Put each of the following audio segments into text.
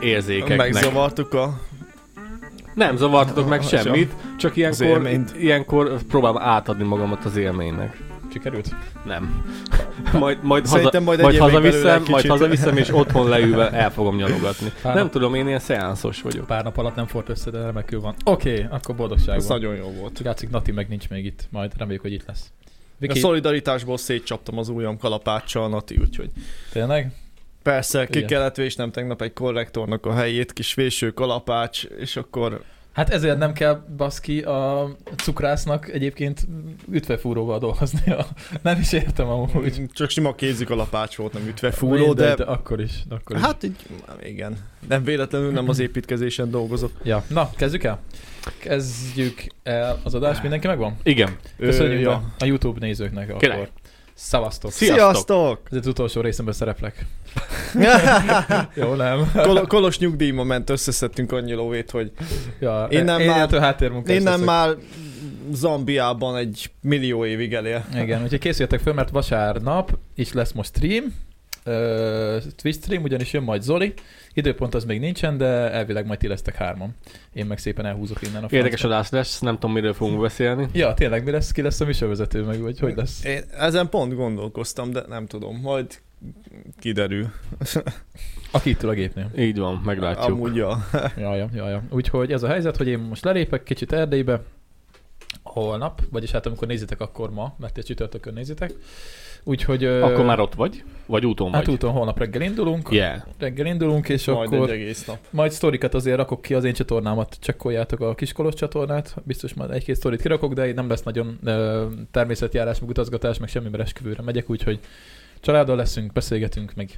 érzékeknek. Megzavartuk a... Nem zavartatok meg Ha, semmit, csak ilyenkor, élményt. ilyenkor próbálom átadni magamat az élménynek. Sikerült? Nem. Majd, majd, haza, Szerintem majd majd, egy majd év még belőle hazaviszem, egy majd kicsit. hazaviszem, és otthon leülve el fogom nyalogatni. Pár Nem nap- tudom, én ilyen szeánszos vagyok. Pár nap alatt nem fort össze, de remekül van. Oké, okay, akkor boldogság Ez van. nagyon jó volt. Látszik, Nati meg nincs még itt. Majd reméljük, hogy itt lesz. A Viki, szol... szolidaritásból szétcsaptam az ujjam kalapáccsal, Nati, úgyhogy tényleg? persze ki Igen. kellett vésnem tegnap egy korrektornak a helyét, kis véső kalapács, és akkor Hát ezért nem kell baszki a cukrásznak egyébként ütvefúróval dolgoznia. Nem is értem amúgy. csak sima kézi kalapács volt, nem ütve fúró, de... de... Akkor is, akkor is. Hát... Hát így, igen. Nem véletlenül nem az építkezésen dolgozok. Ja. Na, kezdjük el? Kezdjük el az adást. Mindenki megvan? Igen. Köszönjük Ö, ja. a YouTube nézőknek akkor. Király. Szavaztok. Szia- Sziasztok! Ez az utolsó részemben szereplek. Jó, nem? Kol- Kolos nyugdíjba ment, összeszedtünk annyi lóvét, hogy Ja, Én nem én már- ettől háttérmunkás én nem leszek. már Zambiában egy millió évig elél. Igen, úgyhogy készüljetek föl, mert vasárnap is lesz most stream, ö, Twitch stream, ugyanis jön majd Zoli. Időpont az még nincsen, de elvileg majd ti lesztek hárman. Én meg szépen elhúzok innen a Érdekes francba. adás lesz, nem tudom, miről fogunk beszélni. Ja, tényleg mi lesz? Ki lesz a műsorvezető meg, vagy hogy lesz? Én ezen pont gondolkoztam, de nem tudom, majd kiderül. Aki itt ül a gépnél. Így van, meglátjuk. Amúgy ja. Jaja, jaja. Úgyhogy ez a helyzet, hogy én most lelépek kicsit Erdélybe, holnap, vagyis hát amikor nézitek, akkor ma, mert egy csütörtökön nézitek. Úgyhogy... ö, Akkor már ott vagy? Vagy úton Hát vagy? úton holnap reggel indulunk, Yeah. reggel indulunk, és Majd akkor... egy egész nap. Majd sztorikat azért rakok ki az én csatornámat, csekkoljátok a Kiskolos csatornát, biztos majd egy-két sztorit kirakok, de nem lesz nagyon ö, természetjárás, meg utazgatás, meg semmi, mert esküvőre megyek, úgyhogy családdal leszünk, beszélgetünk, meg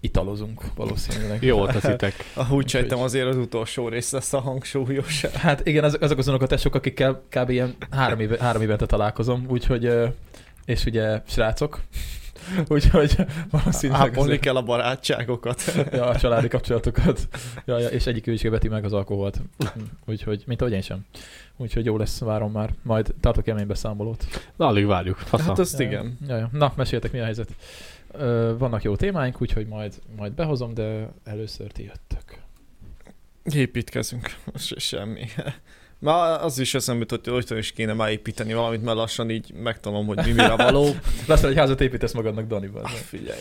italozunk valószínűleg. Jó, Hát- teszitek. Ahogy sejtem, azért az utolsó rész lesz a hangsúlyos. Hát igen, azok, azok azonok a tesók, akikkel kb. ilyen három, éve, három évente találkozom, úgyhogy, ö, és ugye srácok, úgyhogy valószínűleg... Ápolni kell a barátságokat. ja, a családi kapcsolatokat. Ja, ja, és egyik ő is követi meg az alkoholt. Úgyhogy, mint ahogy én sem. Úgyhogy jó lesz, várom már. Majd tartok kemény beszámolót. Na, alig várjuk. Fasza. Hát azt Ja, igen. Ja, ja. Na, meséltek mi a helyzet. Ö, vannak jó témáink, úgyhogy majd, majd behozom, de először ti jöttök. Építkezünk. Se- Semmi. Már az is eszembe jutott, hogy otthon is kéne már építeni valamit, mert lassan így megtanulom, hogy mi mire való. Leszel egy házat építesz magadnak, Danival. Ah, figyelj.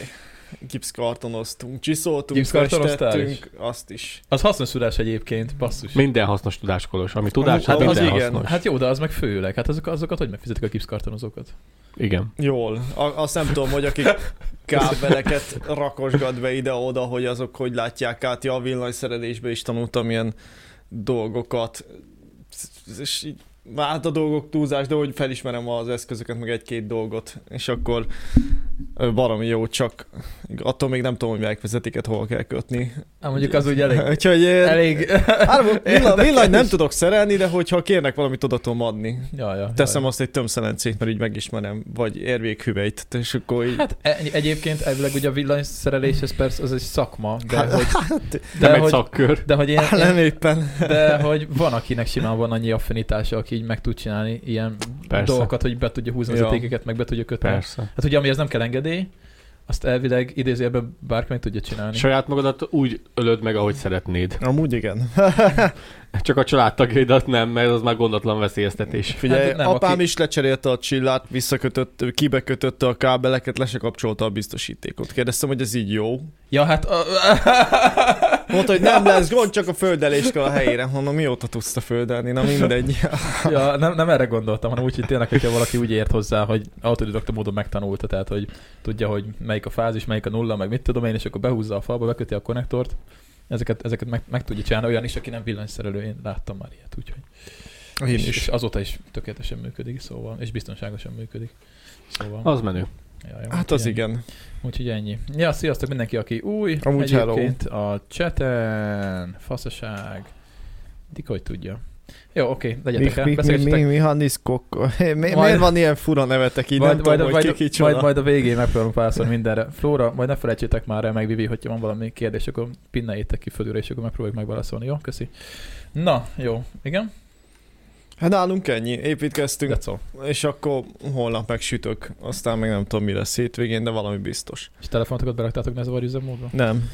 Gipszkartonoztunk, csiszoltunk, Gipszkartonoztál is? festettünk, azt is. Az hasznos tudás egyébként, basszus. Minden hasznos tudáskolos, ami tudás, hát Az minden igen. hasznos. Hát jó, de az meg főleg. Hát azok, azokat hogy megfizetik a gipszkartonozókat? Igen. Jól. A- azt nem tudom, hogy akik kábeleket rakosgat be ide-oda, hogy azok hogy látják át. Ja, a villanyszerelésbe is tanultam ilyen dolgokat. És így, hát a dolgok túlzás, de hogy felismerem az eszközöket, meg egy-két dolgot, és akkor ö, baromi jó, csak attól még nem tudom, hogy melyik vezetéket hol kell kötni. Hát mondjuk az úgy elég... Úgyhogy én- elég... Árva, villa, villany nem Érdekes. tudok szerelni, de hogyha kérnek valamit, oda tudom adni. Ja, ja, Teszem azt egy tömszelencét, mert így megismerem, vagy érvékhüvelyt, és akkor így... Hát e- egyébként elvileg ugye a villanyszerelés ez persze az egy szakma, de Hát, hogy, De de nem egy hogy, szakkör. de hogy, ilyen, Nem éppen. de hogy van akinek simán van annyi affinitása, aki így meg tud csinálni ilyen Persze. persze. dolgokat, hogy be tudja húzni Ja. vezetékeket, meg be tudja kötni. Persze. Hát ugye amihez nem kell engedély, azt elvileg idézőjelben bárki meg tudja csinálni. Saját magadat úgy ölöd meg, ahogy szeretnéd. Amúgy igen. Csak a családtagjaidat nem, mert az már gondatlan veszélyeztetés. Figyelj, Hát hát nem, nem, apám aki- aki... is lecserélte a csillát, visszakötött, kibekötötte a kábeleket, le se kapcsolta a biztosítékot. Kérdeztem, hogy ez így jó. Ja, hát... A... Mondta, hogy nem lesz gond, csak a földelés kell a helyére. Mondom, mióta tudsz te földelni? Na mindegy. Ja, nem, nem erre gondoltam, hanem úgy, hogy tényleg, hogyha valaki úgy ért hozzá, hogy autodidakta módon megtanulta, tehát hogy tudja, hogy melyik a fázis, melyik a nulla, meg mit tudom én, és akkor behúzza a falba, beköti a konnektort, ezeket, ezeket meg, meg tudja csinálni, olyan is, aki nem villanyszerelő, én láttam már ilyet, úgyhogy. Én és, és is. azóta is tökéletesen működik, szóval, és biztonságosan működik. Szóval, Az menő. ja, jó, Hát úgyhogy az ennyi. igen. Úgyhogy ennyi. Ja, sziasztok mindenki, aki új. Amúgy hello. Egyébként a chaten, faszaság. Dik, hogy tudja. Jó, oké, legyetek el, beszélgetsetek. mi, Hannis Kokko? Mi, Majd- miért van ilyen fura nevetek így? nem tudom, hogy majd, ki kicsoda. majd, majd a végén megpróbálom válaszolni mindenre. Flóra, majd ne felejtsétek már el, meg Vivi, hogyha van valami kérdés, akkor pinneljétek ki fölülre, és akkor megpróbáljuk megválaszolni. Jó, köszi. Na, jó, igen. Hát nálunk ennyi, építkeztünk, That's all. és akkor holnap megsütök, aztán még nem tudom, mi lesz hétvégén, de valami biztos. És telefonotokat beraktátok nezavar üzemmódba? Nem.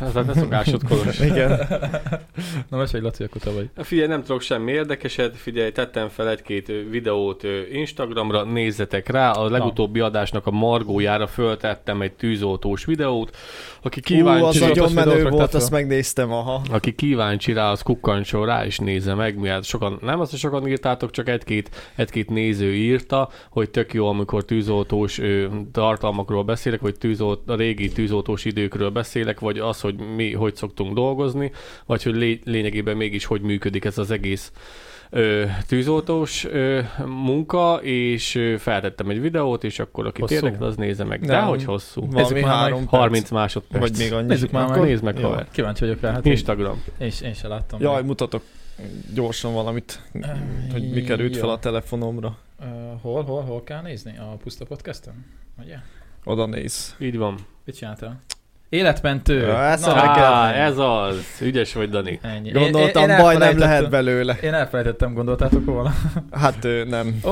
Ez a te szokásod, Kolos. Igen. Na mesélj, Laci, akkor te vagy. Figyelj, nem tudok semmi érdekeset, figyelj, tettem fel egy-két ö, videót ö, Instagramra, nézzetek rá, a legutóbbi adásnak a margójára föltettem egy tűzoltós videót, aki kíváncsi... Ú, az Kíváncsi nagyon videót menő raktál volt, fel? azt megnéztem, aha. Aki kíváncsi rá, az kukkancson rá és nézze meg, miért sokan, nem azt, hogy sokan írtátok, csak egy-két, egy-két néző írta, hogy tök jó, amikor tűzoltós ö, tartalmakról beszélek, vagy tűzolt, a régi tűzoltós időkről beszélek, vagy az, hogy mi hogy szoktunk dolgozni, vagy hogy lé, lényegében mégis hogy működik ez az egész ö, tűzoltós ö, munka, és ö, feltettem egy videót, és akkor aki Hosszú? érdekel, az nézze meg. Nem. Dehogy hosszú. Valami már meg három perc, 30 másodperc. vagy még annyi. Nézzük már Akkor meg. nézd meg, Jó. haver. Kíváncsi vagyok rá, hát én, Instagram. én, is- én se láttam. Jaj, mutatok gyorsan valamit, hogy mi került Jó. fel a telefonomra. Ö, hol, hol, hol kell nézni? A Puszta Podcast-en? Ugye? Oda néz. Így van. Mit csináltál? Életmentő! Ja, ezt a meg Á, ez az. Ügyes vagy, Dani. Ennyi. Én- Gondoltam, én- én baj nem elfelejtettem- lehet belőle. Én elfelejtettem, gondoltátok volna? Hát ö, nem. Ó,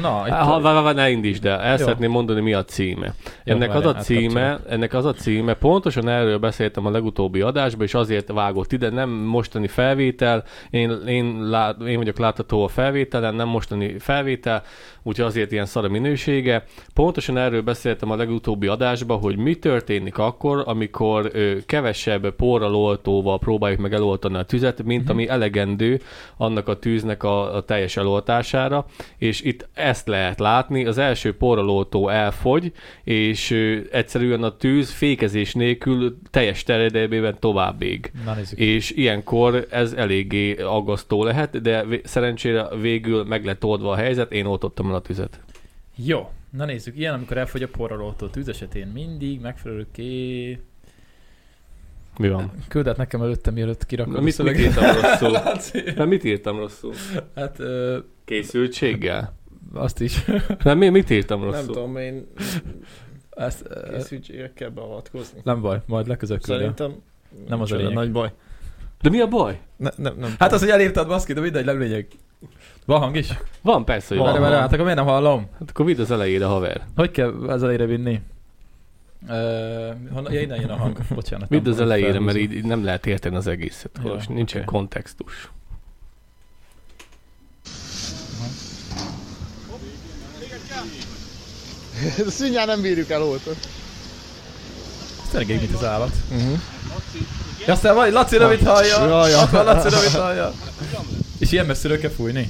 na, itt Há, Hát, Ha, ha, ha, ne indítsd el, el Jó. szeretném mondani, mi a címe. Jó, Ennek az várjál, hát a címe, átkapcsolok. ennek az a címe, pontosan erről beszéltem a legutóbbi adásban, és azért vágott ide, nem mostani felvétel, én, én, lát, én vagyok látható a felvételen, nem mostani felvétel, úgyhogy azért ilyen szar a minősége. Pontosan erről beszéltem a legutóbbi adásban, hogy mi történik akkor, amikor ö, kevesebb porral oltóval próbáljuk meg eloltani a tüzet, mint ami elegendő annak a tűznek a, a teljes eloltására, és itt ezt lehet látni, az első porral oltó elfogy, és ö, egyszerűen a tűz fékezés nélkül teljes terjedelmében tovább ég. Na nézzük. És ilyenkor ez eléggé aggasztó lehet, de vé- szerencsére végül meg lett oldva a helyzet, én oltottam el a tüzet. Jó, na nézzük. Ilyen, amikor elfogy a porralótó tűz esetén mindig megfelelő ké... Mi van? Küldett nekem előtte, mielőtt kirakom Na, mit, mit írtam rosszul? Na, mit írtam rosszul? Hát ö, Készültséggel? azt is. Na, mi, mit írtam Nem rosszul? tudom, én Ezt, ö, készügyére kell beavatkozni. nem baj, majd legközelebb küldöm. Szerintem Nem az a nincs lényeg. olyan nagy baj. De mi a baj? Ne, nem, nem. Hát az, hogy elírtad baszki, de mindegy, nem lényeg. Van hang is? Van persze, hogy Várj, van. várj, hát akkor miért nem hallom? Hát akkor vidd az elejére, haver. Hogy kell az elejére vinni? Ö, honnan, ja, innen jön a hang. Bocsánat. Vidd nem- az elejére, mert felhúzom. így, így nem lehet érteni az egészet. Jó, Most nincsen oké. kontextus. Ezt mindjárt nem bírjuk el oltot. Ez tényleg ég, mint az állat. Uh-huh. Mhm. Ja, aztán van, Laci rövid hallja! Jaj, jaj. Ott van Laci rövid hallja! És ilyen messziről kell fújni?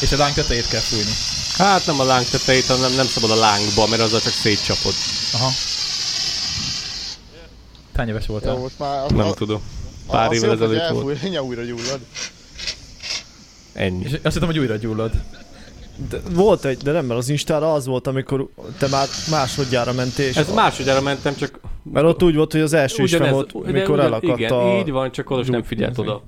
És a láng tetejét kell fújni. Hát nem a láng tetejét, hanem nem szabad a lángba, mert azzal csak szétcsapod. Aha. Hány éves voltál? Jó, most már... Nem tudom. Pár évvel ezelőtt volt. Mindjárt újra gyullad. Ennyi. És azt hittem, hogy újra gyullad. De, volt egy, de nem, mert az Instára az volt, amikor te már másodjára mentél. és- Ez másodjára mentem, csak Mert ott úgy volt, hogy az első is fenn volt, de mikor elakadt igen, a... így van, csak oda nem figyelt oda.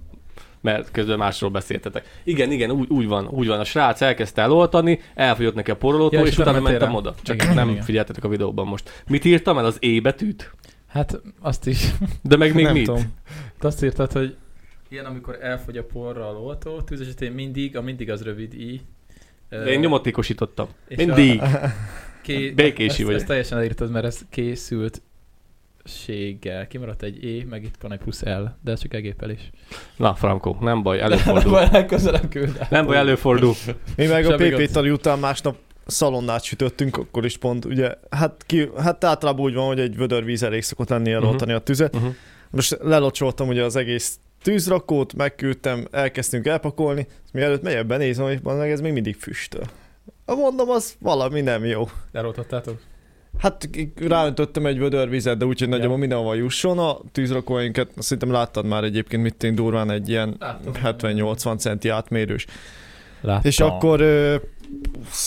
Mert közben másról beszéltetek. Igen, igen, úgy, úgy van, úgy van. A srác elkezdte eloltani, elfogyott neki a porolótó, Ja, ja, és és utána utána mentél mentem rá. oda. Csak Igen, igen, nem igen. igen. figyeltetek a videóban most. Mit írtam el? Az E betűt? Hát, azt is. De meg még nem mit? tudom. Te azt írtad, hogy ilyen, amikor elfogy a porral oltó, tűz esetén mindig, a mindig az rövid i. De én nyomatékosítottam. és Mindig. Ké... Békési ezt, vagyok. Ezt teljesen elírtad, mert ez készült séggel. Kimaradt egy E, meg itt van egy plusz L, de ez csak egépelés. Na, Franco, nem baj, előfordul. Legközelebb küld el. Nem baj, előfordul. Mi meg a Semmi gond. PP tali után másnap szalonnát sütöttünk, akkor is pont, ugye, hát, ki, hát általában úgy van, hogy egy vödör víz elég szokott lenni eloltani a tüzet. Mhm. Most lelocsoltam ugye az egész tűzrakót, megküldtem, elkezdtünk elpakolni, és mielőtt megyek benézem, hogy van meg ez még mindig füstöl. Ah, Mondom, az valami nem jó. Eloltottátok? Hát ráöntöttem egy vödör vizet, de úgyhogy Ja. nagyjából mindenhova jusson a tűzrakóinkat. Azt Szerintem láttad már egyébként, mit én durván egy ilyen Láttam. Hát, 70-80 centi átmérős. Láttam. És akkor ö,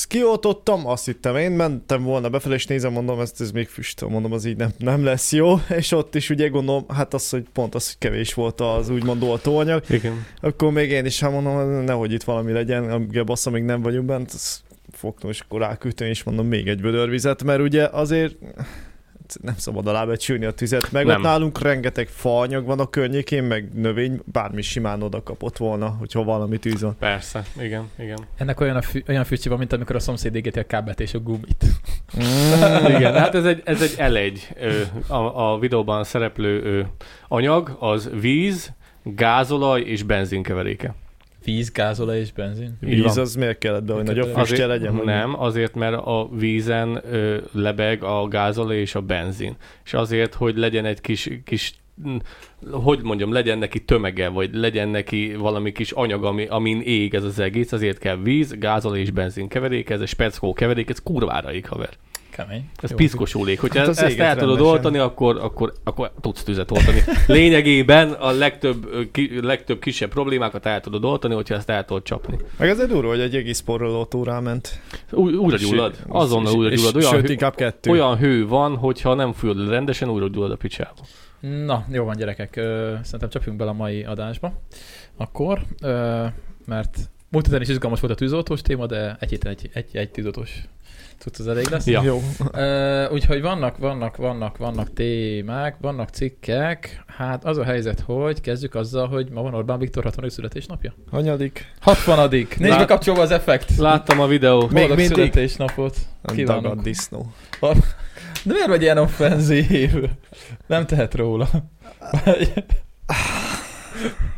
kioltottam, azt hittem én, mentem volna befelé, és nézem, mondom, ezt ez még füstöl, mondom, az így nem, nem lesz jó, és ott is ugye gondolom, hát az, hogy pont az, hogy kevés volt az úgymond oltóanyag, Igen. akkor még én is hát mondom, nehogy itt valami legyen, amíg bassza még nem vagyunk bent, azt fogtam, és akkor ráküldtem, és mondom, még egy vödörvizet, mert ugye azért nem szabad alábecsülni a tüzet, meg Nem. ott nálunk rengeteg faanyag van a környékén, meg növény, bármi simán oda kapott volna, hogyha valami tűz van. Persze, igen, igen. Ennek olyan, a fü- olyan füstje van, mint amikor a szomszéd égeti a kábelt és a gumit. Igen, hát ez egy, ez egy elegy. ö, A, a videóban szereplő ö, anyag az víz, gázolaj és benzinkeveréke. Víz, gázola és benzin. Így Víz van. az miért kellett be, hogy Azért- nagyobb füstje legyen? vagy nem, azért, mert a vízen ö, lebeg a gázolaj és a benzin. És azért, hogy legyen egy kis, kis mm, hogy mondjam, legyen neki tömege, vagy legyen neki valami kis anyag, ami, amin ég ez az egész, azért kell víz, gázolaj és benzin keverék, ez egy speckó keverék, ez kurvára ég, haver. Kemény. Ez Jó, piszkos úlék. Hogyha Hát hát az ezt éget el tudod rendesen. oltani, akkor, akkor, akkor tudsz tüzet oltani. Lényegében a legtöbb, ö, ki, legtöbb kisebb problémákat el tudod oltani, hogyha ezt el tudod csapni. Meg azért durva, hogy egy egész porrolótó ráment. Ú- Újra És- gyullad. Azonnal és- újra és- gyullad. Olyan, Sőt, hő, inkább kettő. olyan hő van, hogyha nem fújod le rendesen, újra gyullad a picsába. Na, jó van gyerekek, ö, szerintem csapjunk bele a mai adásba. Akkor, ö, mert múlt héten is izgalmas volt a tűzoltós téma, de egy héten egy, egy, egy tűzoltós tudsz, az elég lesz. Ja. Jó. Ö, úgyhogy vannak, vannak, vannak, vannak témák, vannak cikkek. Hát az a helyzet, hogy kezdjük azzal, hogy ma van Orbán Viktor 60. születésnapja. Hanyadik? 60. Nincs Lát- bekapcsolva az effekt. Láttam a videót. Még Boldog mindig? születésnapot. Nem Kívánunk. tagad disznó. De miért vagy ilyen offenzív? Nem tehet róla.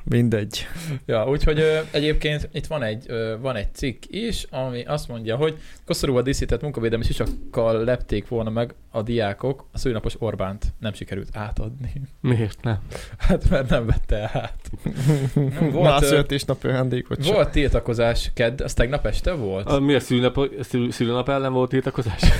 Mindegy. Ja, úgyhogy ö, egyébként itt van egy, ö, van egy cikk is, ami azt mondja, hogy koszorúval díszített munkavédelmi sisakkal lepték volna meg a diákok a szülinapos Orbánt. Nem sikerült átadni. Miért nem? Hát mert nem vette át. Nem, volt, Már ö, születésnap ajándék, vagy sem? Volt tiltakozás kedd, az tegnap este volt? A, mi a szülnap, szül- szülnap ellen volt tiltakozás?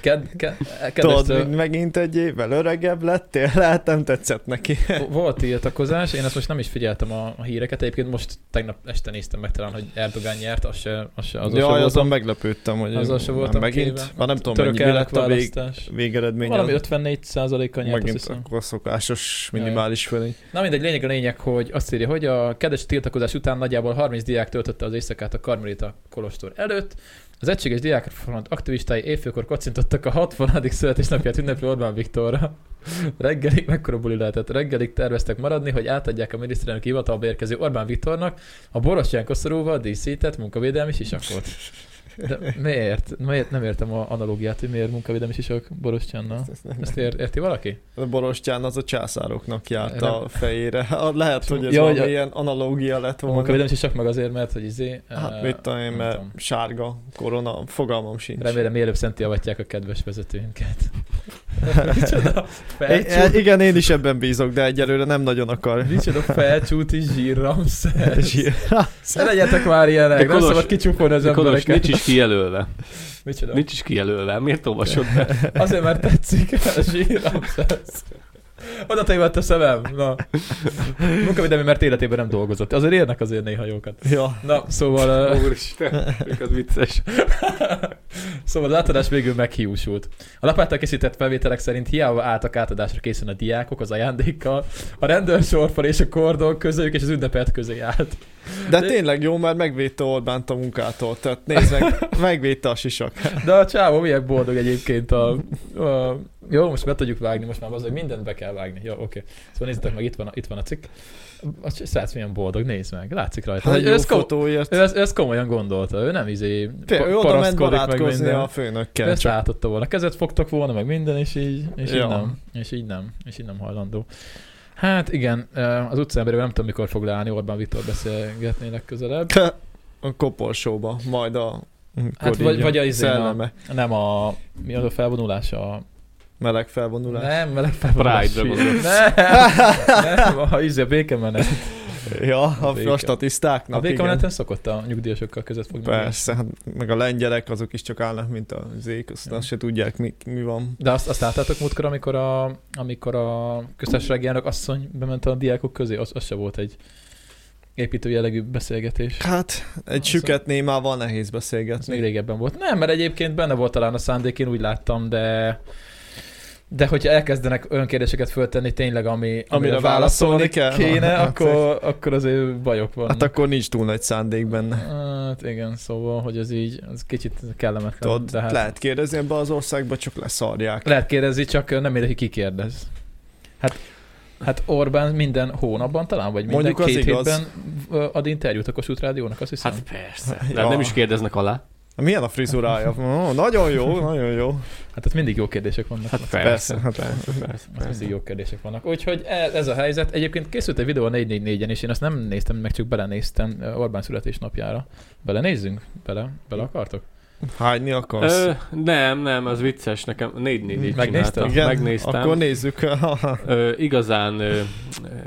Ked, ked, ked Tudod, mint megint egy évvel öregebb lettél, lehet nem tetszett neki. Volt tiltakozás, én ezt most nem is figyeltem a, a híreket, egyébként most tegnap este néztem meg talán, hogy Erdogan nyert, az se, az se, az Jaj, se azon volt meglepődtem, hogy Azzal se már voltam megint, képben. már nem a tudom, török mennyi mi lett a vég, elnökválasztás. végeredmény. Valami az 54 százaléka nyert, azt megint hiszem. akkor a szokásos Jaj. minimális felé. Na mindegy, lényeg a lényeg, hogy azt írja, hogy a kedves tiltakozás után nagyjából 30 diák töltötte az éjszakát a Karmelita Kolostor előtt. Az egységes diákfront aktivistái évfélkor kacintottak a 60. születésnapját ünneplő Orbán Viktorra. Reggelig, mekkora buli lehetett, reggelig terveztek maradni, hogy átadják a miniszterelnök hivatalba érkező Orbán Viktornak a borostyán koszorúval díszített munkavédelmi sisakot. De miért? miért? Nem értem a analógiát, hogy miért munkavédelmi sisak borostyánnal. Ezt ér- érti valaki? A borostyán az a császároknak járt Nem. a fejére. Ah, Lehet, hogy ez Ja, hogy valami a- ilyen analógia lett A volna. munkavédelmi sisak meg azért, mert hogy izé... eh, Hát mit tudom én, nem mert tudom. sárga korona, fogalmam sincs. Remélem mielőbb szenti avatják a kedves vezetőinket. Micsoda É, felcsút, igen, én is ebben bízok, de egyelőre nem nagyon akar. micsoda felcsúti zsírramszert. Zsír. Ne legyetek már De ilyenek, nem Kolos- szabad kicsúfolni az De Kolos, embereket. nincs is kijelölve. Micsoda? Nincs is kijelölve. Miért olvasod be? Azért, mert tetszik a zsírramszert. Oda tévedt a szemem. Na. Munkavédelmi, mert életében nem dolgozott. Azért érnek azért néha jókat. Ja. Na, szóval... ö, Úristen, ez vicces. Szóval az átadás végül meghiúsult. A lapáttal készített felvételek szerint hiába álltak átadásra készen a diákok az ajándékkal, a rendőr sorfal és a kordon közéjük és az ünnepelt közé állt. De tényleg jó, mert megvédte Orbánt a munkától. Tehát nézd meg, megvédte a sisak. De a csávó milyen boldog egyébként a, a... Jó, most be tudjuk vágni, most már az, hogy mindent be kell vágni. Jó, oké. Okay. Szóval nézzétek meg, itt van a, itt van a cikk. A srác milyen boldog, nézd meg, látszik rajta. Hát hogy ő, jó ezt kom- fotóért. ő, ezt, ő ezt komolyan gondolta, ő nem izé Té- ő oda ment paraszkodik meg barátkozni minden. a főnökkel. Ezt Csak. átadta volna. Kezet fogtak volna, meg minden, és így, és így Ja. nem. És így nem. És így nem hajlandó. Hát igen, ö, az utcemberében nem tudom, mikor fog leállni Orbán Viktor beszélgetni legközelebb. A koporsóba, majd a Hát akkor vagy- így vagy a izén a- szelleme. Nem a... Mi az a felvonulás? A... Meleg felvonulás. Nem, meleg felvonulás. Pride-ra gondolsz. Nem, nem, a, izé, a békemenet. Ja, a, Béke. a statisztáknak, A igen. békemeneten szokott a nyugdíjasokkal között fogni. Persze, hát meg a lengyelek azok is csak állnak, mint a zék, azt, Ja. azt se tudják, mi, mi van. De azt, azt láttátok múltkor, amikor a, amikor a köztársasági elnök asszony bement a diákok közé, az, az se volt egy építő jellegű beszélgetés. Hát, egy Az- süket némával nehéz Ez még beszélgetni. régebben volt. Nem, mert egyébként benne volt talán a szándék, én úgy láttam, de De hogyha elkezdenek olyan kérdéseket föltenni tényleg, ami, Amire válaszolni kell. kéne, Hát, akkor, akkor azért bajok van. Hát akkor nincs túl nagy szándék benne. Hát igen, szóval, hogy ez így, ez kicsit kellemetlen. Tudod, de hát lehet. lehet kérdezni ebbe az országba, csak leszarják. lehet kérdezni, csak nem érdekel, ki kérdez. Hát, hát Orbán minden hónapban talán, vagy minden Mondjuk az két igaz. hétben ö, ad interjút a Kossuth Rádiónak, azt hiszem. Hát Hát, persze. De Ja. nem is kérdeznek alá. Milyen a frizurája? Ó, nagyon jó, nagyon jó. hát ott mindig jó kérdések vannak. Hát persze. Persze, hát persze, Ott persze. mindig jó kérdések vannak. Úgyhogy e- ez a helyzet. Egyébként készült egy videó a 444-en, és én azt nem néztem meg, csak belenéztem ö, Orbán születésnapjára. Belenézzünk? Bele, bele akartok? Hányni akarsz? Ö, nem, nem, az vicces, nekem 4 4 Megnézted? Igen, megnéztem. Akkor nézzük. Vagy, Ö, igazán ö,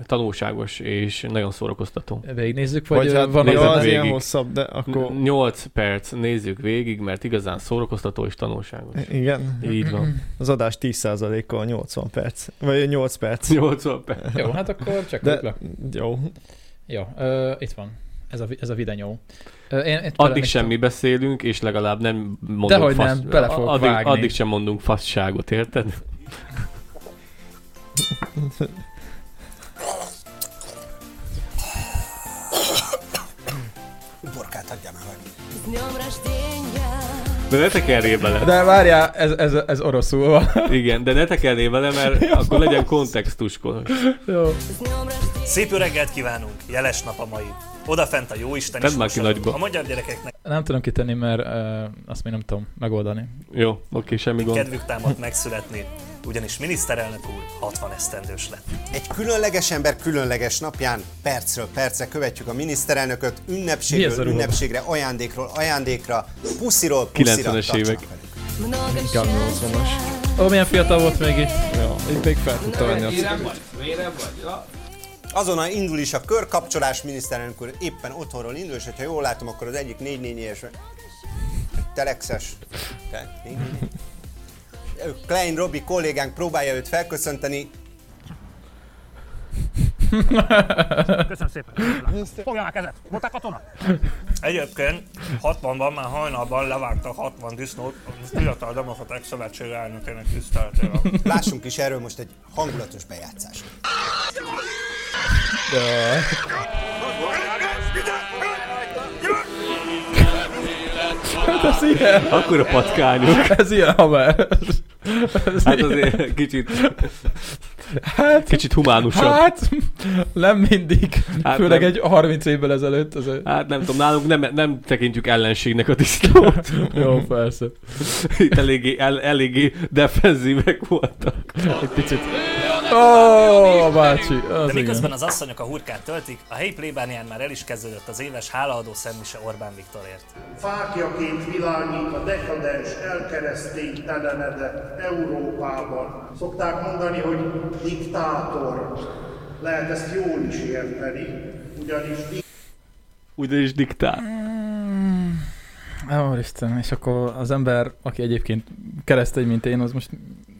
tanulságos és nagyon szórakoztató. Végignézzük, vagy, vagy hát hát van jó, nézed az... Mm. az ilyen végig. hosszabb, de akkor... 8 perc, nézzük végig, mert igazán szórakoztató és tanulságos. Igen, Így van. az adás 10%-kal 80 perc, vagy 8 perc. 80 perc. Jó, hát akkor csak De- De... le. Jó. Jó, ö, itt van. Ez a, vi- ez a videó. Ö, én, én Addig belenéztem. sem mi beszélünk, és legalább nem mondunk Dehogy fasz... nem, bele fogok addig, vágni. addig sem mondunk fasságot, érted? С днем рождения! De ne tekerjél bele. De várjál, ez, ez, ez oroszul van. Igen, de ne tekerjél bele, mert akkor legyen kontextuskor. Jó. С днем рождения! Szép öreget kívánunk, jeles nap a mai. Odafent a jó Isten Tedd is már ki mosolyog. nagyba. A magyar gyerekeknek Nem tudom kitenni, mert uh, azt még nem tudom megoldani. Jó, oké, semmi gond. kedvük támad megszületni, ugyanis miniszterelnök úr 60 esztendős lett. Egy különleges ember különleges napján percről percre követjük a miniszterelnököt Mi ez a ünnepségről ruha? ünnepségre, ajándékról ajándékra, pusziról puszira. 90-es évek. tartsanak velünk. Много Gámolozom is. счастья! Ó, milyen fiatal volt még itt. Ja, itt még fel tudta venni a cipőt. Azonnal indul is a körkapcsolás, miniszterelnök úr éppen otthonról indul, és ha jól látom, akkor az egyik 444-es telexes, te, 444. Ő, Klein Robi kollégánk próbálja őt felköszönteni, Köszönöm szépen. Fogja a kezed. Voltál katona? Egyébként 60-ban már hajnalban levágtak 60 disznót a Fiatal Demokraták Szövetség elnökének tiszteletére. lássunk is erről most egy hangulatos bejátszást. Hát ez ilyen, Akkor a patkányok. ez ilyen haver. Ez Hát ilyen. azért kicsit, Hát, kicsit humánusabb. hát, nem mindig. Hát Főleg nem. egy 30 évvel ezelőtt. Az a... Hát nem tudom, nálunk nem, nem tekintjük ellenségnek a disznót. Jó, persze. Itt eléggé, el, eléggé defenzívek voltak. Egy picit. Ó, bácsi, De az miközben igen. az asszonyok a hurkát töltik, a helyi plébánián már el is kezdődött az éves hálaadó szemmise Orbán Viktorért. Fákjaként világít a dekadens, elkereszténytelenedett Európában. Szokták mondani, hogy diktátor. Lehet ezt jól is érteni, ugyanis Ugyanis diktál. Ó, Isten, és akkor az ember, aki egyébként keresztény, mint én, az most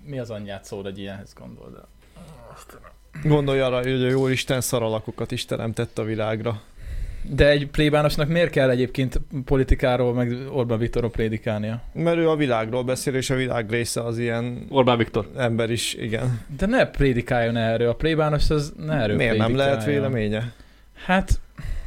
mi az anyját szól egy ilyenhez gondol, de... Gondolj arra, hogy a Jóisten szaralakokat is teremtett a világra. De egy plébánosnak miért kell egyébként politikáról, meg Orbán Viktorról prédikálnia? Mert ő a világról beszél, és a világ része az ilyen Orbán Viktor. ember is, igen. De ne prédikáljon erről, a plébános az ne erről Miért nem prédikáljon. lehet véleménye? Hát,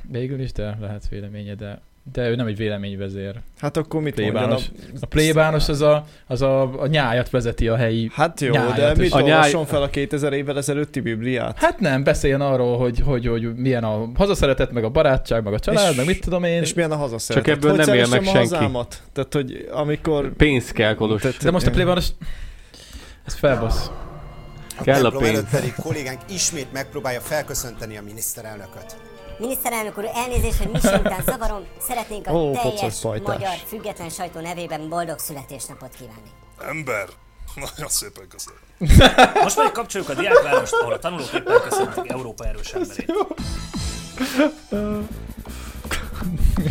végül is, de lehet véleménye, de, de ő nem egy véleményvezér. Hát akkor mit mondjon a... Plébános. A plébános az a, az a, a nyájat vezeti a helyi Hát jó, Nyájat de is. mit A nyáj- olvasson fel a 2000 évvel ezelőtti Bibliát? Hát nem, beszéljen arról, hogy, hogy, hogy milyen a hazaszeretet, meg a barátság, meg a család, És- meg mit tudom én. És milyen a hazaszeretet? Csak ebből hogy nem él szeressem meg a senki. hazámat? Tehát, hogy amikor... Pénz kell, Kolos. Tehát- De most a plébános... Ez felbasz. A Kell a templom pénz. előtt pedig kollégánk ismét megpróbálja felköszönteni a miniszterelnököt. Miniszterelnök úr, elnézést, hogy Misi után zavarom. Szeretnénk a Ó, teljes pocaszfajtás. magyar független sajtó nevében boldog születésnapot kívánni. Ember! Nagyon szépen köszönöm. Most pedig kapcsoljuk a diákvárost, ahol a tanulók éppen köszöntik Európa erős emberét.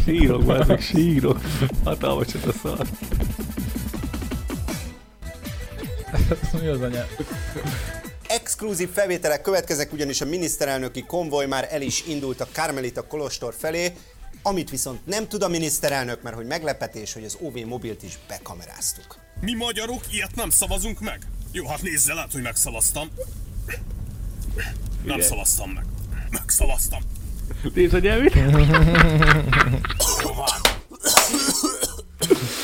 Sírok, ezek sírok. Hatalmas ez a szar. Mi az anya? Exkluzív felvételek következnek, ugyanis a miniszterelnöki konvoj már el is indult a Karmelita Kolostor felé, amit viszont nem tud a miniszterelnök, mert hogy meglepetés, hogy az OV mobilt is bekameráztuk. Mi magyarok ilyet nem szavazunk meg. Jó, hát nézzel át, hogy megszavaztam. Nem szavaztam meg. Megszavaztam. Nézd, hogy elvitt.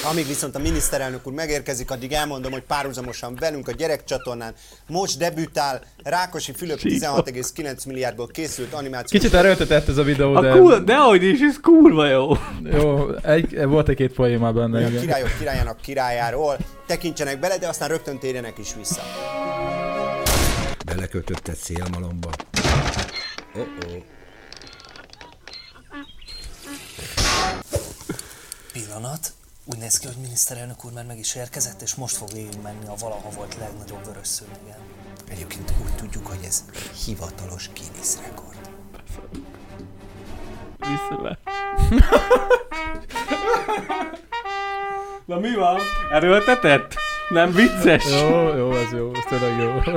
Amíg viszont a miniszterelnök úr megérkezik, addig elmondom, hogy párhuzamosan velünk a gyerekcsatornán most debütál Rákosi Fülöp 16,9 milliárdból készült animációs Kicsit erőltetett ez a videó, A de... cool, de ahogy is, ez kurva jó. Jó, egy, volt egy két poén már benne, a igen. királyok királyának királyáról tekintsenek bele, de aztán rögtön térjenek is vissza. Belekötötted szélmalomba. Oh-oh. Pillanat. Úgy néz ki, hogy miniszterelnök úr már meg is érkezett, és most fog végig menni a valaha volt legnagyobb vörös szőnyegen. Egyébként úgy tudjuk, hogy ez hivatalos Guinness rekord. Vissza Na mi van? Erőltetett? Nem vicces? Jó, jó, ez jó, ez tényleg jó.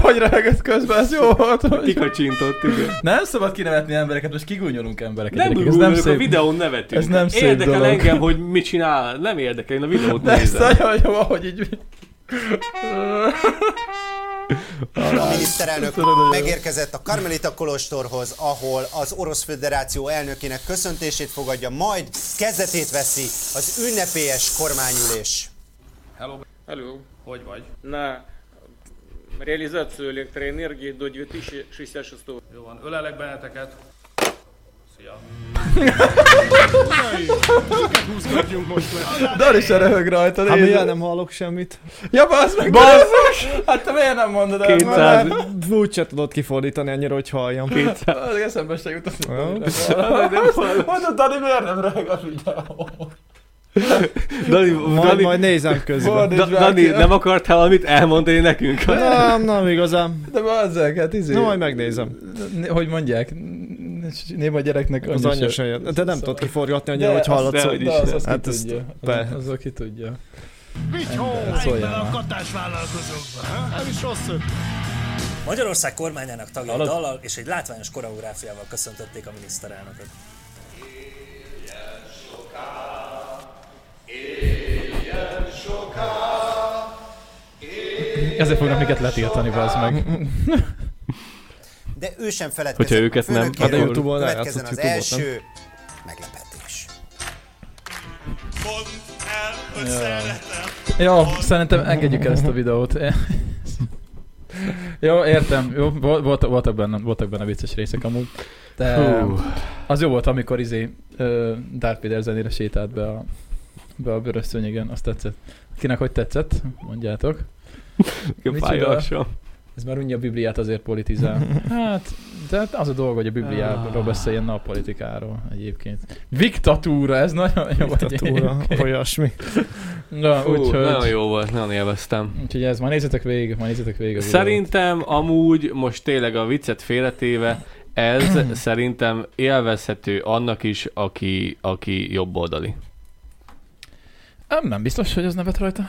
hogy röhögött közben, ez jó volt. hogy- Kikacsintott, igen. Nem szabad kinevetni embereket, most kigúnyolunk embereket. Nem gyerekek, gurulunk, a videón nevetünk. Ez nem szép Érdekel dolog. engem, hogy mit csinál, nem érdekel, én a videót De ez nézem. nagyon jó, ahogy így... A miniszterelnök megérkezett a Karmelita Kolostorhoz, ahol az Orosz Föderáció elnökének köszöntését fogadja, majd kezdetét veszi az ünnepélyes kormányülés. Hello. Hello. Hogy vagy? на реализацию электроэнергии до 2066 Jó van, ölelek benneteket. Szia. Húzgatjunk most le. Dar is röhög rajta, Hát nézd. miért nem hallok semmit? Ja, bazd meg, basszus! Hát te miért nem mondod el? Már Úgy se tudod kifordítani annyira, hogy halljam. Hát, Az eszembe se jutott. Jó. Mondod, Dani, miért nem röhög a videó? Dani, Majd- majd nézem közben. Da, Dani, nem akartál valamit elmondani nekünk? Nem, nem igazán. De bazzeg, hát izé... Na, majd megnézem. N- Hogy mondják? N- Néma gyereknek Az anyja se jön. De nem tudod kiforgatni annyira, De hogy azt- hallatsz. de hogy is. De az- az Hát ki ezt- tudja. be. Az- az ki tudja. Ember, szóljál már. katásvállalkozókba. Nem is rossz Magyarország kormányának tagja Hallod? dallal és egy látványos koreográfiával köszöntötték a miniszterelnököt. Ezért fognak minket letiltani, bazd meg. De ő sem feledkezett. Hogyha őket nem, főnökéről. hát a Youtube-on Következzen az eljátszott Youtube-ot, nem? első meglepetés. Jó, szerintem engedjük el ezt a videót. Jó, értem. Jó, vol- voltak, voltak, benne, voltak benne vicces részek amúgy. De Hú. az jó volt, amikor izé ö, Darth Vader zenére sétált be a, be a vörös szőnyegen, azt tetszett. Kinek hogy tetszett, mondjátok. Micsoda? fájhassam. Ez már unja a Bibliát azért politizál. Hát, de hát az a dolga, hogy a Bibliáról Ah. beszéljen, ne a politikáról egyébként. Diktatúra, ez nagyon jó. Diktatúra, egyébként. olyasmi. Na, Fú, úgyhogy... Nagyon jó volt, nagyon élveztem. Úgyhogy ez, már nézzetek végig, már nézzetek végig a videót. Szerintem amúgy most tényleg a viccet félretéve, ez szerintem élvezhető annak is, aki, aki jobboldali. Nem, nem biztos, hogy az nevet rajta.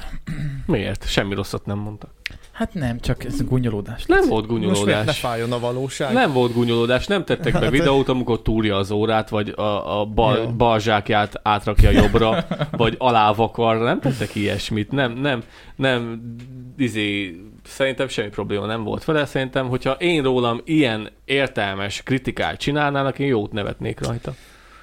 Miért? Semmi rosszat nem mondtak. Hát nem, csak ez gúnyolódás. Nem volt Most miért ne gúnyolódás. fájjon a valóság? Nem volt gúnyolódás, nem tettek be Hát- videót, amikor túrja az órát, vagy a, a bal, Jó. bal zsákját átrakja jobbra, vagy alávakarra, nem tettek ilyesmit, nem, nem, nem, izé, szerintem semmi probléma nem volt vele, szerintem, hogyha én rólam ilyen értelmes kritikát csinálnának, én jót nevetnék rajta.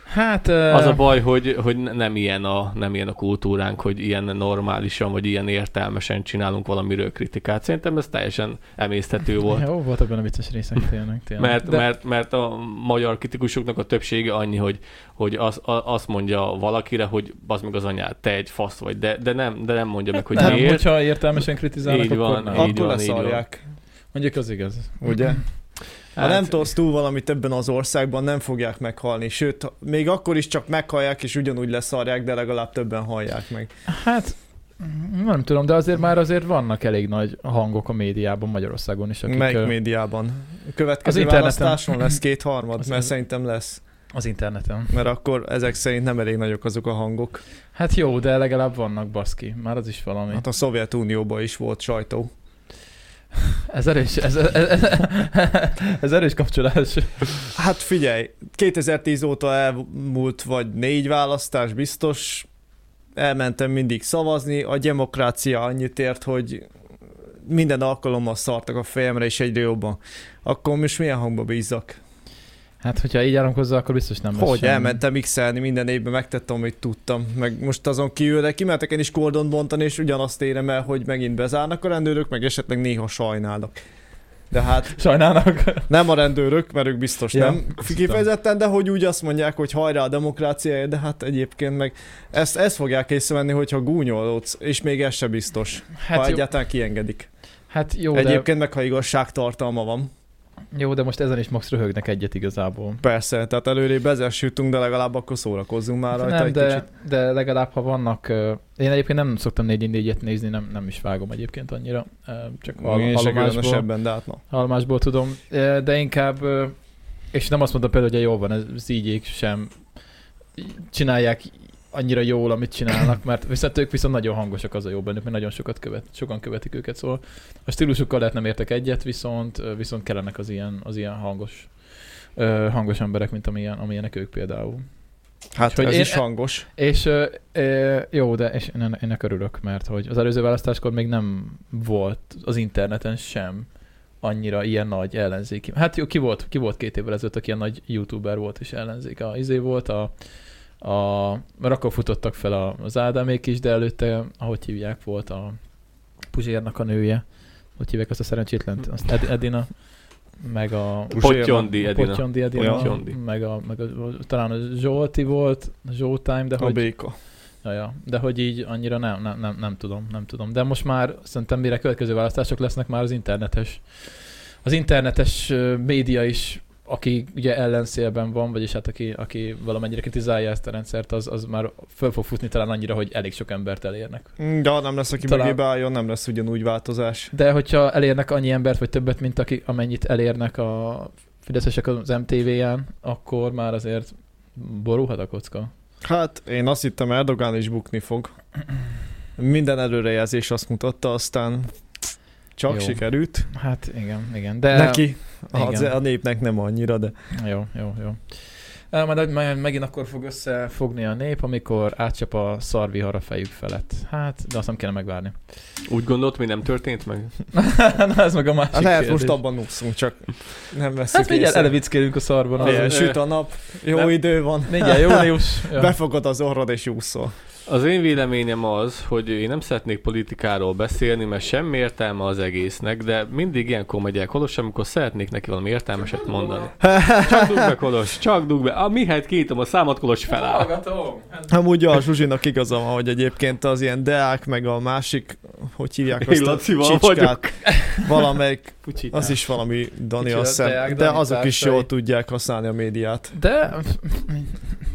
Hát... Az a baj, hogy, hogy nem, ilyen a, nem ilyen a kultúránk, hogy ilyen normálisan, vagy ilyen értelmesen csinálunk valamiről kritikát. Szerintem ez teljesen emészthető volt. Jó, voltak benne vicces részek, tényleg, tényleg. Mert, De- mert, mert a magyar kritikusoknak a többsége annyi, hogy, hogy az, a, azt mondja valakire, hogy az meg az anyád, te egy fasz vagy, de, de, nem, de nem mondja meg, hogy nem, miért. Hát, hogyha értelmesen kritizálnak, így akkor van, nem. így Akkor van, így van. leszarják. Mondjuk az igaz. Ugye? Ha Hát- nem tolsz túl valamit ebben az országban, nem fogják meghalni. Sőt, ha- még akkor is csak meghallják, és ugyanúgy leszarják, de legalább többen hallják meg. Hát nem tudom, de azért már azért vannak elég nagy hangok a médiában Magyarországon is, akik... Melyik ö, médiában? Következő Az az interneten. választáson lesz kétharmad, Az- mert szerintem lesz. Az interneten. Mert akkor ezek szerint nem elég nagyok azok a hangok. Hát jó, de legalább vannak, baszki. Már az is valami. Hát a Szovjetunióban is volt sajtó. Ez erős, ez, ez, ez, ez erős kapcsolás. Hát figyelj, 2010 óta elmúlt vagy négy választás biztos, elmentem mindig szavazni, a demokrácia annyit ért, hogy minden alkalommal szartak a fejemre, és egyre jobban. Akkor most milyen hangba bízzak? Hát, hogyha így állunk hozzá, akkor biztos nem lesz Hogy semmi. elmentem x minden évben, megtettem, amit tudtam. Meg most azon kívül, de kimentek én is kordont bontani, és ugyanazt érem el, hogy megint bezárnak a rendőrök, meg esetleg néha sajnálnak. De hát... Sajnálnak? Nem a rendőrök, mert ők biztos Ja, ja, nem. azt Kifejezetten, de hogy úgy azt mondják, hogy hajrá a demokráciáért, de hát egyébként meg ezt, ezt fogják észrevenni, hogyha gúnyolódsz, és még ez se biztos, Hát hát ha jó. jó. egyáltalán kiengedik. Hát jó, Egyébként de... meg, ha igazságtartalma van. Jó, de most ezen is max röhögnek egyet igazából. Persze, tehát előrébb ezersültünk, de legalább akkor szórakozzunk már rajta nem, egy de, kicsit. de legalább ha vannak... ö, Én egyébként nem szoktam 4-4-et nézni, nem, nem is vágom egyébként annyira, ö, csak hall, Én se hallomásból, különösebben, de hát na. hallomásból tudom, ö, de inkább... ö, És nem azt mondom például, hogy jól van, ez ígyék sem csinálják annyira jól, amit csinálnak, mert viszont ők viszont nagyon hangosak az a jó bennük, mert nagyon sokat követ, sokan követik őket, szóval a stílusukkal lehet nem értek egyet, viszont, viszont kellenek az ilyen, az ilyen hangos, ö, hangos emberek, mint amilyen, amilyenek ők például. Hát Úgyhogy ez is hangos. És ö, ö, jó, de és én, en- ennek örülök, mert hogy az előző választáskor még nem volt az interneten sem annyira ilyen nagy ellenzéki. Hát jó, ki volt, ki volt két évvel ezelőtt, aki ilyen nagy youtuber volt és ellenzék. A izé volt, a, a, mert akkor futottak fel a- az Ádámék is, de előtte, ahogy hívják, volt a Puzsérnak a nője. Hogy hívják azt a szerencsétlent? Azt Ed, Edina meg a Pottyondi Edina. Pottyondi Edina, Pottyondi. meg, a, meg a, talán a Zsolti volt, a Zsoltime, de A hogy... béka. Ja, ja, de hogy így annyira nem, nem, nem, nem, tudom, nem tudom. De most már szerintem mire következő választások lesznek már az internetes, az internetes ö, média is, aki ugye ellenszélben van, vagyis hát aki, aki valamennyire kritizálja ezt a rendszert, az, az már föl fog futni talán annyira, hogy elég sok embert elérnek. De ha nem lesz, aki Talán- Talán... mögébe álljon, nem lesz ugyanúgy változás. De hogyha elérnek annyi embert, vagy többet, mint aki, amennyit elérnek a fideszesek az MTV-en, akkor már azért borulhat a kocka. Hát én azt hittem Erdogán is bukni fog. Minden előrejelzés azt mutatta, aztán csak Jó. Jó. sikerült. Hát igen, igen. De De... Neki, az, Igen. Hát a népnek nem annyira, de Jó, jó, jó. Á, Majd, majd megint akkor fog összefogni a nép, amikor átcsap a szarvihar a fejük felett. Hát, de azt nem kéne megvárni. Úgy gondolt, mi nem történt meg? Na, ez meg a másik hát lehet kérdés. most abban nukszunk, csak nem veszük Hát mindjárt észre. elevickélünk a szarban. Igen, Az- süt a nap, jó Nem. idő van. Mindjárt július. Ja. Befogod az orrod és úszol. Az én véleményem az, hogy én nem szeretnék politikáról beszélni, mert semmi értelme az egésznek, de mindig ilyenkor megyek Kolos, amikor szeretnék neki valami értelmeset mondani. Csak dugd be, Kolos, csak dugd be. A mihelyt kiítom a számot, Kolos feláll. Amúgy a Zsuzsinak igaza van, hogy egyébként az ilyen Deák, meg a másik, hogy hívják azt Én a Lacival vagyok. csicskát, valamelyik, Pucsitás. az is valami Dani, Kicsi a azt hiszem, Deák, de Dani azok is társai. jól tudják használni a médiát. De...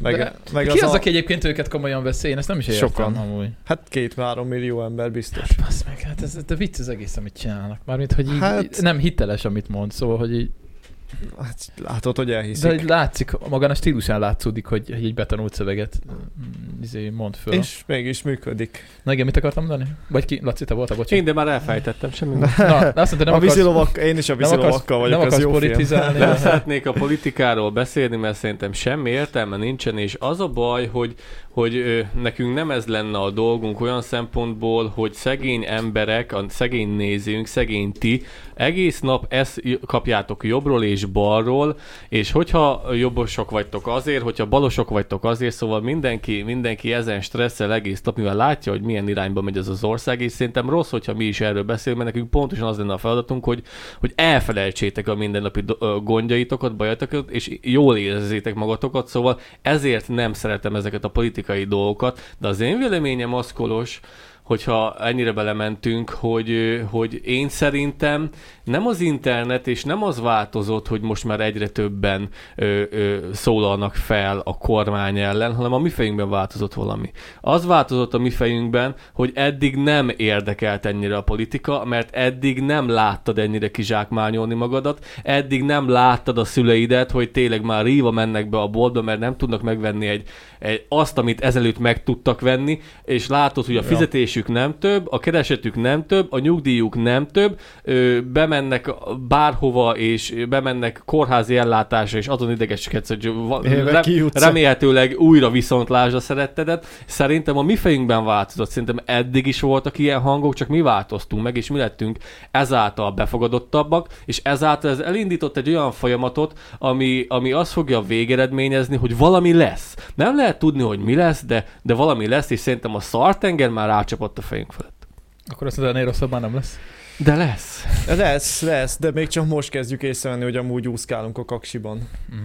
Meg- de... meg Ki az az, az a- aki egyébként őket komolyan veszi? Én ezt nem is értem Sokan. amúgy. Hát két-három millió ember biztos. Basz meg, hát ez, de vicc az egész, amit csinálnak. Mármint, hogy így, hát... Hát- nem hiteles, amit mond, szóval, hogy így... Hát látod, hogy elhiszik. De hogy látszik, magán a stílusán látszódik, hogy hogy egy betanult szöveget mm, izé, mond föl. És mégis működik. Na igen, mit akartam mondani? Vagy ki, Laci, te voltál, bocsánat. Én, de már elfejtettem, semmi Na, de azt mondta, nem a akarsz- vízilovak, én is a nem akarsz- vízilovakkal vagyok, nem ez akarsz jó film. politizálni. Nem szeretnék a politikáról beszélni, mert szerintem semmi értelme nincsen, és az a baj, hogy, hogy ö, nekünk nem ez lenne a dolgunk olyan szempontból, hogy szegény emberek, a szegény nézőnk, szegény ti, egész nap ezt j- kapjátok jobbról és balról, és hogyha jobbosok vagytok azért, hogyha balosok vagytok azért, szóval mindenki, mindenki ezen stresszel egész nap, mivel látja, hogy milyen irányba megy ez az ország, és szerintem rossz, hogyha mi is erről beszélünk, mert nekünk pontosan az lenne a feladatunk, hogy, hogy elfelejtsétek a mindennapi do- ö, gondjaitokat, bajatokat, és jól érezzétek magatokat, szóval ezért nem szeretem ezeket a politikai dolgokat, de az én véleményem az, Kolos, hogyha ennyire belementünk, hogy, ö, hogy én szerintem nem az internet és nem az változott, hogy most már egyre többen ö, ö, szólalnak fel a kormány ellen, hanem a mi fejünkben változott valami. Az változott a mi fejünkben, hogy eddig nem érdekelt ennyire a politika, mert eddig nem láttad ennyire kizsákmányolni magadat, eddig nem láttad a szüleidet, hogy tényleg már ríva mennek be a boltba, mert nem tudnak megvenni egy, egy azt, amit ezelőtt meg tudtak venni, és látod, hogy a Ja. fizetésük fizetésük nem több, a keresetük nem több, a nyugdíjuk nem több, ö, bemennek bárhova, és bemennek kórházi ellátásra, és azon idegeskedsz, hogy va- Éve re- kijutsz. remélhetőleg újra viszontlásra szerettedet. Szerintem a mi fejünkben változott, szerintem eddig is voltak ilyen hangok, csak mi változtunk meg, és mi lettünk ezáltal befogadottabbak, és ezáltal ez elindított egy olyan folyamatot, ami, ami azt fogja végeredményezni, hogy valami lesz. Nem lehet tudni, hogy mi lesz, de, de valami lesz, és szerintem a szartenger már rácsapott a fejünk felett. Akkor azt mondod, ennél rosszabb már nem lesz. De lesz. Lesz, lesz, de még csak most kezdjük észrevenni, hogy amúgy úszkálunk a kaksiban. Mhm.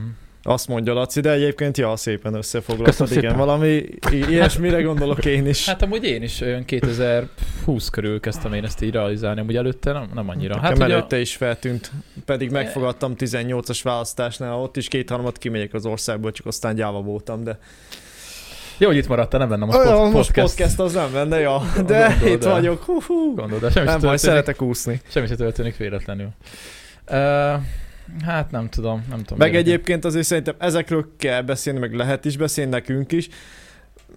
Azt mondja Laci, de egyébként ja, szépen összefoglaltad, Köszönöm igen, szépen. valami i- ilyesmire gondolok én is. Hát amúgy én is olyan 2020 körül kezdtem én ezt így realizálni, amúgy előtte nem, nem annyira. Hát Hát Nekem ugye, E- előtte is feltűnt, pedig megfogadtam 18-as választásnál, ott is kétharmad kimegyek az országból, csak aztán gyáva voltam, de jó, hogy itt maradtál, nem bennem a Olyan, pod- most podcast. podcast az nem lenne, ja, de Gondolod itt el. vagyok, hú, hú. Gondolod, de semmi Nem se baj, történik. szeretek úszni. Semmi se történik véletlenül. Uh, hát nem tudom, nem tudom. Meg miért. egyébként azért szerintem ezekről kell beszélni, meg lehet is beszélni nekünk is,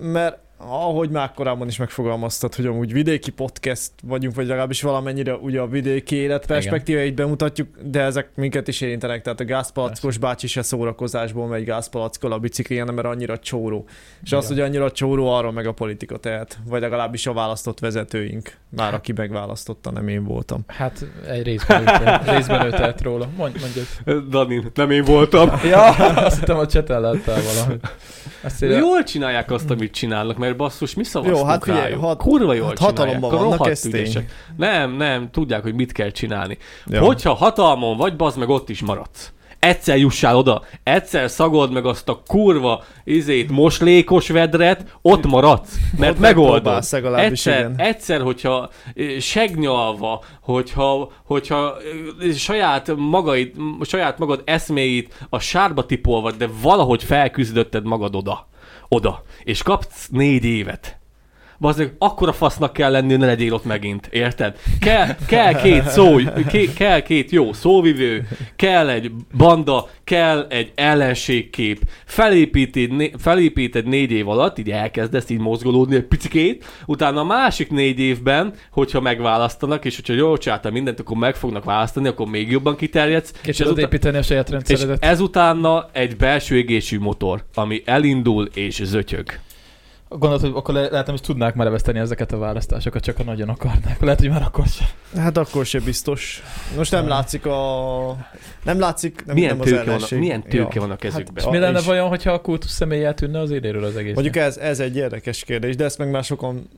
mert ahogy már korábban is megfogalmaztad, hogy amúgy vidéki podcast vagyunk, vagy legalábbis valamennyire ugye a vidéki élet perspektíváit bemutatjuk, de ezek minket is érintenek, tehát a gázpalackos bácsi se szórakozásból megy gázpalackkal a biciklien, mert annyira csóró. És az, Igen. hogy annyira csóró, arról meg a politika tehet, vagy legalábbis a választott vezetőink, már aki megválasztotta, nem én voltam. Hát egy részben őt- részben ő tehet róla. Mondj, mondj egy- Dani, nem én voltam. Ja, azt hittem, hogy csetellettál valamit. Azt írja- Jól csinálják azt, amit csinálnak, mert basszus, mi szavaztunk Jó, hát figyelj, rájuk. hat- Kurva jól hát hatalomban csinálják, akkor vannak, rohadt ez tény. ügyesek. Nem, nem, tudják, hogy mit kell csinálni. Ja. Hogyha hatalmon vagy, bazd meg ott is maradsz. Egyszer jussál oda, egyszer szagold meg azt a kurva izét, moslékos vedret, ott maradsz, mert Ott megoldod. megpróbálsz legalábbis, Egyszer, igen. egyszer, hogyha ö, segnyalva, hogyha, hogyha ö, saját, magaid, m- saját magad eszméit a sárba tipolva, de valahogy felküzdötted magad oda, oda, és kapsz négy évet. Bazdmeg, akkora fasznak kell lenni, hogy ne legyél ott megint, érted? Kell, kell két szó, ké, kell két jó szóvivő, kell egy banda, kell egy ellenségkép. Felépíted, né- felépíted négy év alatt, így elkezdesz így mozgolódni egy picikét, utána a másik négy évben, hogyha megválasztanak, és hogyha jól csináltál mindent, akkor meg fognak választani, akkor még jobban kiterjedsz. Ki tudod építeni a saját és rendszeredet. ezutána egy belső égésű motor, ami elindul és zötyög. Gondolod, hogy akkor le- lehet nem is tudnák már leveszteni ezeket a választásokat, csak ha nagyon akarnák. Lehet, hogy már akkor sem. Hát akkor se biztos. Most nem látszik a... Nem látszik, nem, Milyen nem az tőke van a- ellenség. Hát, milyen tőke van a kezükben? És mi lenne vajon, hogyha a kultusz személy eltűnne az éléről az egész? Mondjuk ez, ez egy érdekes kérdés, de ezt meg már sokan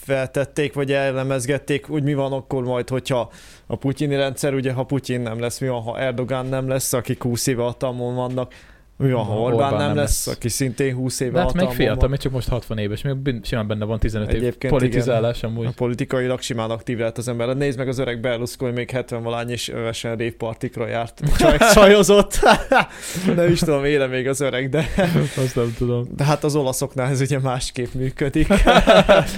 feltették, vagy elemezgették, hogy mi van akkor majd, hogyha a putyini rendszer, ugye ha Putyin nem lesz, mi van, ha Erdogán nem lesz, akik 20 éve hatalmon vannak, mi van, ha Ha Orbán, Orbán nem, nem lesz, lesz. aki szintén 20 éve De hát még hatalmon fiatal, van. még csak most 60 éves, még bin- simán benne van 15 év Egyébként politizálás igen, amúgy. A politikailag simán aktív lehet az ember. Hát Nézd meg az öreg Berlusconi, még 70 valány és övesen révpartikra járt. Csaj, csajozott. nem is tudom, éle még az öreg, de, Azt nem tudom. de hát az olaszoknál ez ugye másképp működik.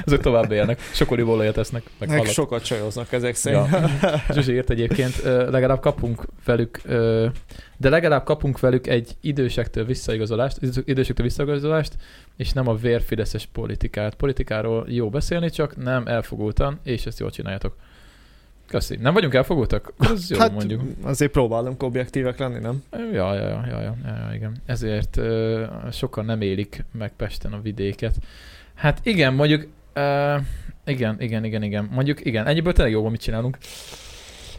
Azok tovább élnek, sok olívolajat esznek, meg Meg halat. sokat csajoznak ezek szerint. Ja. Zsuzsi írt egyébként, ö, legalább kapunk velük, ö, de legalább kapunk velük egy idősektől visszaigazolást, idő- idősektől visszaigazolást, és nem a vérfideszes politikát. Politikáról jó beszélni, csak nem elfogultan, és ezt jól csináljátok. Köszi. Nem vagyunk elfogultak? Az jó, hát mondjuk. azért próbálunk objektívek lenni, nem? Ja, ja, ja, ja, ja, ja, ja igen. Ezért ö, sokan nem élik meg Pesten a vidéket. Hát igen, mondjuk, ö, igen, igen, igen, igen. Mondjuk igen, ennyiből tényleg jó, van, mit csinálunk.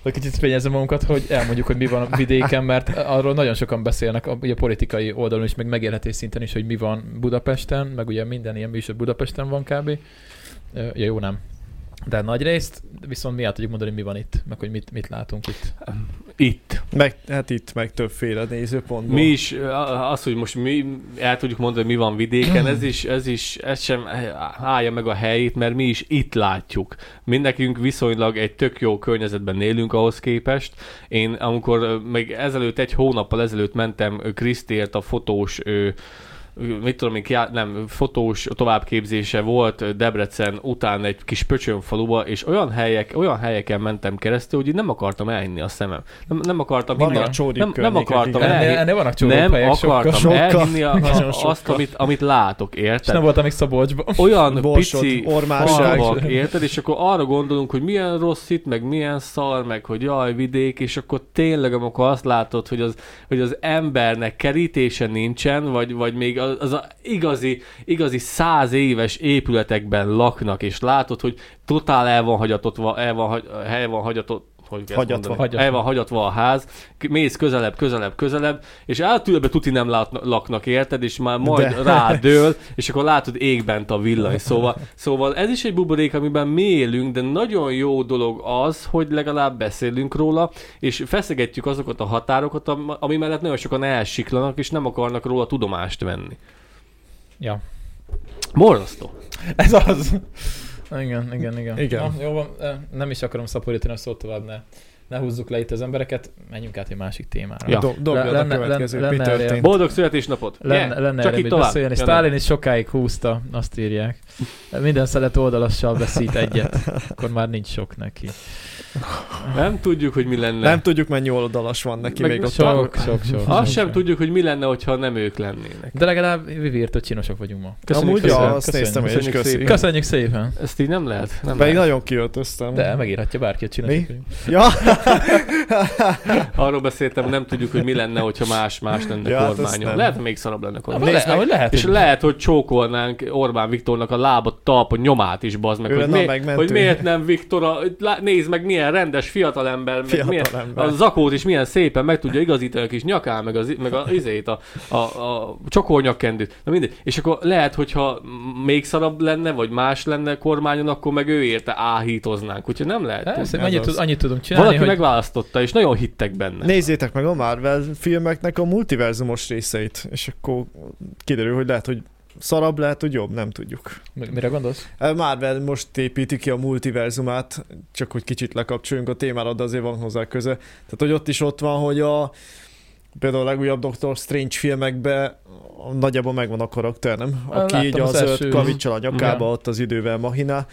Hogy kicsit fényezzem magunkat, hogy elmondjuk, hogy mi van a vidéken, mert arról nagyon sokan beszélnek a, ugye a politikai oldalon is, meg megélhetés szinten is, hogy mi van Budapesten, meg ugye minden ilyen műsor Budapesten van kb. Ö, Ja, jó, nem. De nagy részt, viszont mi el tudjuk mondani, mi van itt, meg hogy mit, mit látunk itt. Itt. Meg, hát itt meg többféle nézőpontból. Mi is, a- az, hogy most mi el tudjuk mondani, hogy mi van vidéken, ez is, ez is, ez sem eh, állja meg a helyét, mert mi is itt látjuk. Mindekünk viszonylag egy tök jó környezetben élünk ahhoz képest. Én amikor ö, még ezelőtt, egy hónappal ezelőtt mentem ö, Krisztért a fotós ö, mit tudom, én, kiá- nem, fotós továbbképzése volt Debrecen után egy kis pöcsönfaluba, és olyan helyek, olyan helyeken mentem keresztül, hogy így nem akartam elhinni a szemem. Nem, nem akartam Vannak hinni a- csóri nem, nem környékek, akartam igen. elhinni. Ennél- ennél vannak csóri nem helyek, sokkal. akartam Sokkal. elhinni a, Nagyon a, sokkal. azt, amit, amit látok, érted? És nem voltam még Szabolcsban. olyan Borsod, pici ormárság. falvak, érted? És akkor arra gondolunk, hogy milyen rossz itt, meg milyen szar, meg hogy jaj, vidék, és akkor tényleg, amikor azt látod, hogy az, hogy az embernek kerítése nincsen, vagy, vagy még az, az a igazi, igazi száz éves épületekben laknak, és látod, hogy totál el van hagyatott, el van, hagy- el van hagyatott, hogy kell ezt Hagyatva. mondani? Hagyatva. El van hagyatva a ház, k- mész közelebb, közelebb, közelebb, és átülbe tuti nem lát, laknak, érted, és már majd De. De. rádől, és akkor látod égbent a villany. Szóval, szóval ez is egy buborék, amiben mi élünk, de nagyon jó dolog az, hogy legalább beszélünk róla, és feszegetjük azokat a határokat, am- ami mellett nagyon sokan elsiklanak, és nem akarnak róla tudomást venni. Ja. Borzasztó. Ez az. Igen, igen, igen. Igen. Na, jó van, eh, nem is akarom szaporítani a szót tovább, ne, ne húzzuk le itt az embereket, menjünk át egy másik témára. Ja. Do- dobjad a következőt, mi erre- történt? Boldog születésnapot! Lenne, Yeah. lenne Csak erre így mit tovább. beszélni. Jön. Stalin is sokáig húzta, azt írják. Minden szelet oldalassal veszít egyet, akkor már nincs sok neki. Nem tudjuk, hogy mi lenne. Nem tudjuk, mennyi oldalas van neki még ott. sok, sok, sok, sok, Azt sem sok. tudjuk, hogy mi lenne, hogyha nem ők lennének. De legalább Viviért, hogy csinosak vagyunk ma. Köszönjük Amúgy, ja, szépen. azt néztem én is, köszönjük, köszi. szépen. köszönjük szépen. Ezt így nem lehet. Nem Pedig lehet. nagyon kiöltöztem. De megírhatja bárki, hogy csinosak Mi? vagyunk. Ja. Arról beszéltem, nem tudjuk, hogy mi lenne, hogyha más-más lenne Ja, ja, hát azt kormányon. nem. Lehet, hogy még szarabb lenne Na, kormányon. le- ahogy lehet, és hogy- lehet, hogy csókolnánk Orbán Viktornak a lába, talpa, nyomát is, bazd meg, Ő hogy, lenne a mi, megmentő. hogy miért nem Viktor, a, lá- nézd meg, milyen rendes fiatalember, meg Fiatal milyen, ember. a zakót is milyen szépen meg tudja igazítani a kis nyakán, meg, az, meg a izét, a, a, a csokornyakkendőt, na mindegy. És akkor lehet, hogyha még szarabb lenne, vagy más lenne kormányon, akkor meg ő érte áhítoznánk, úgyhogy nem lehet. Hát, tudni. annyit, Ez tud, az. annyit tudom csinálni, Valaki hogy... megválasztotta, és nagyon hittek benne. Nézzétek meg a Marvel filmeknek a multiverzumos részeit, és akkor kiderül, hogy lehet, hogy szarabb, lehet, hogy jobb, nem tudjuk. Mi- Mire gondolsz? E, Marvel most építi ki a multiverzumát, csak hogy kicsit lekapcsoljunk a témára, de azért van hozzá köze. Tehát, hogy ott is ott van, hogy a például a legújabb Doctor Strange filmekben nagyjából megvan a karakter, nem? Á, Aki láttam így az, az az első- öt kavicsal a nyakába, Igen. ott az idővel mahinál.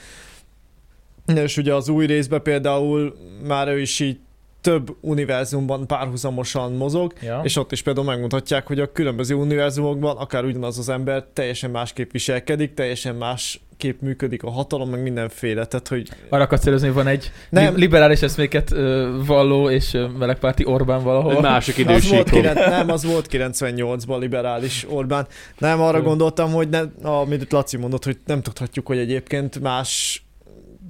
És ugye az új részben például már ő is így több univerzumban párhuzamosan mozog, Ja. és ott is például megmutatják, hogy a különböző univerzumokban akár ugyanaz az ember teljesen másképp viselkedik, teljesen másképp működik a hatalom, meg mindenféle, tehát hogy Arra akarsz célozni, hogy van egy Nem. nem. liberális eszméket ö, valló és ö, melegpárti Orbán valahol. Egy másik az volt, idősíkon. kilen- nem, az volt 98-ban liberális Orbán. Nem, arra Ö. gondoltam, hogy nem, amit Laci mondott, hogy nem tudhatjuk, hogy egyébként más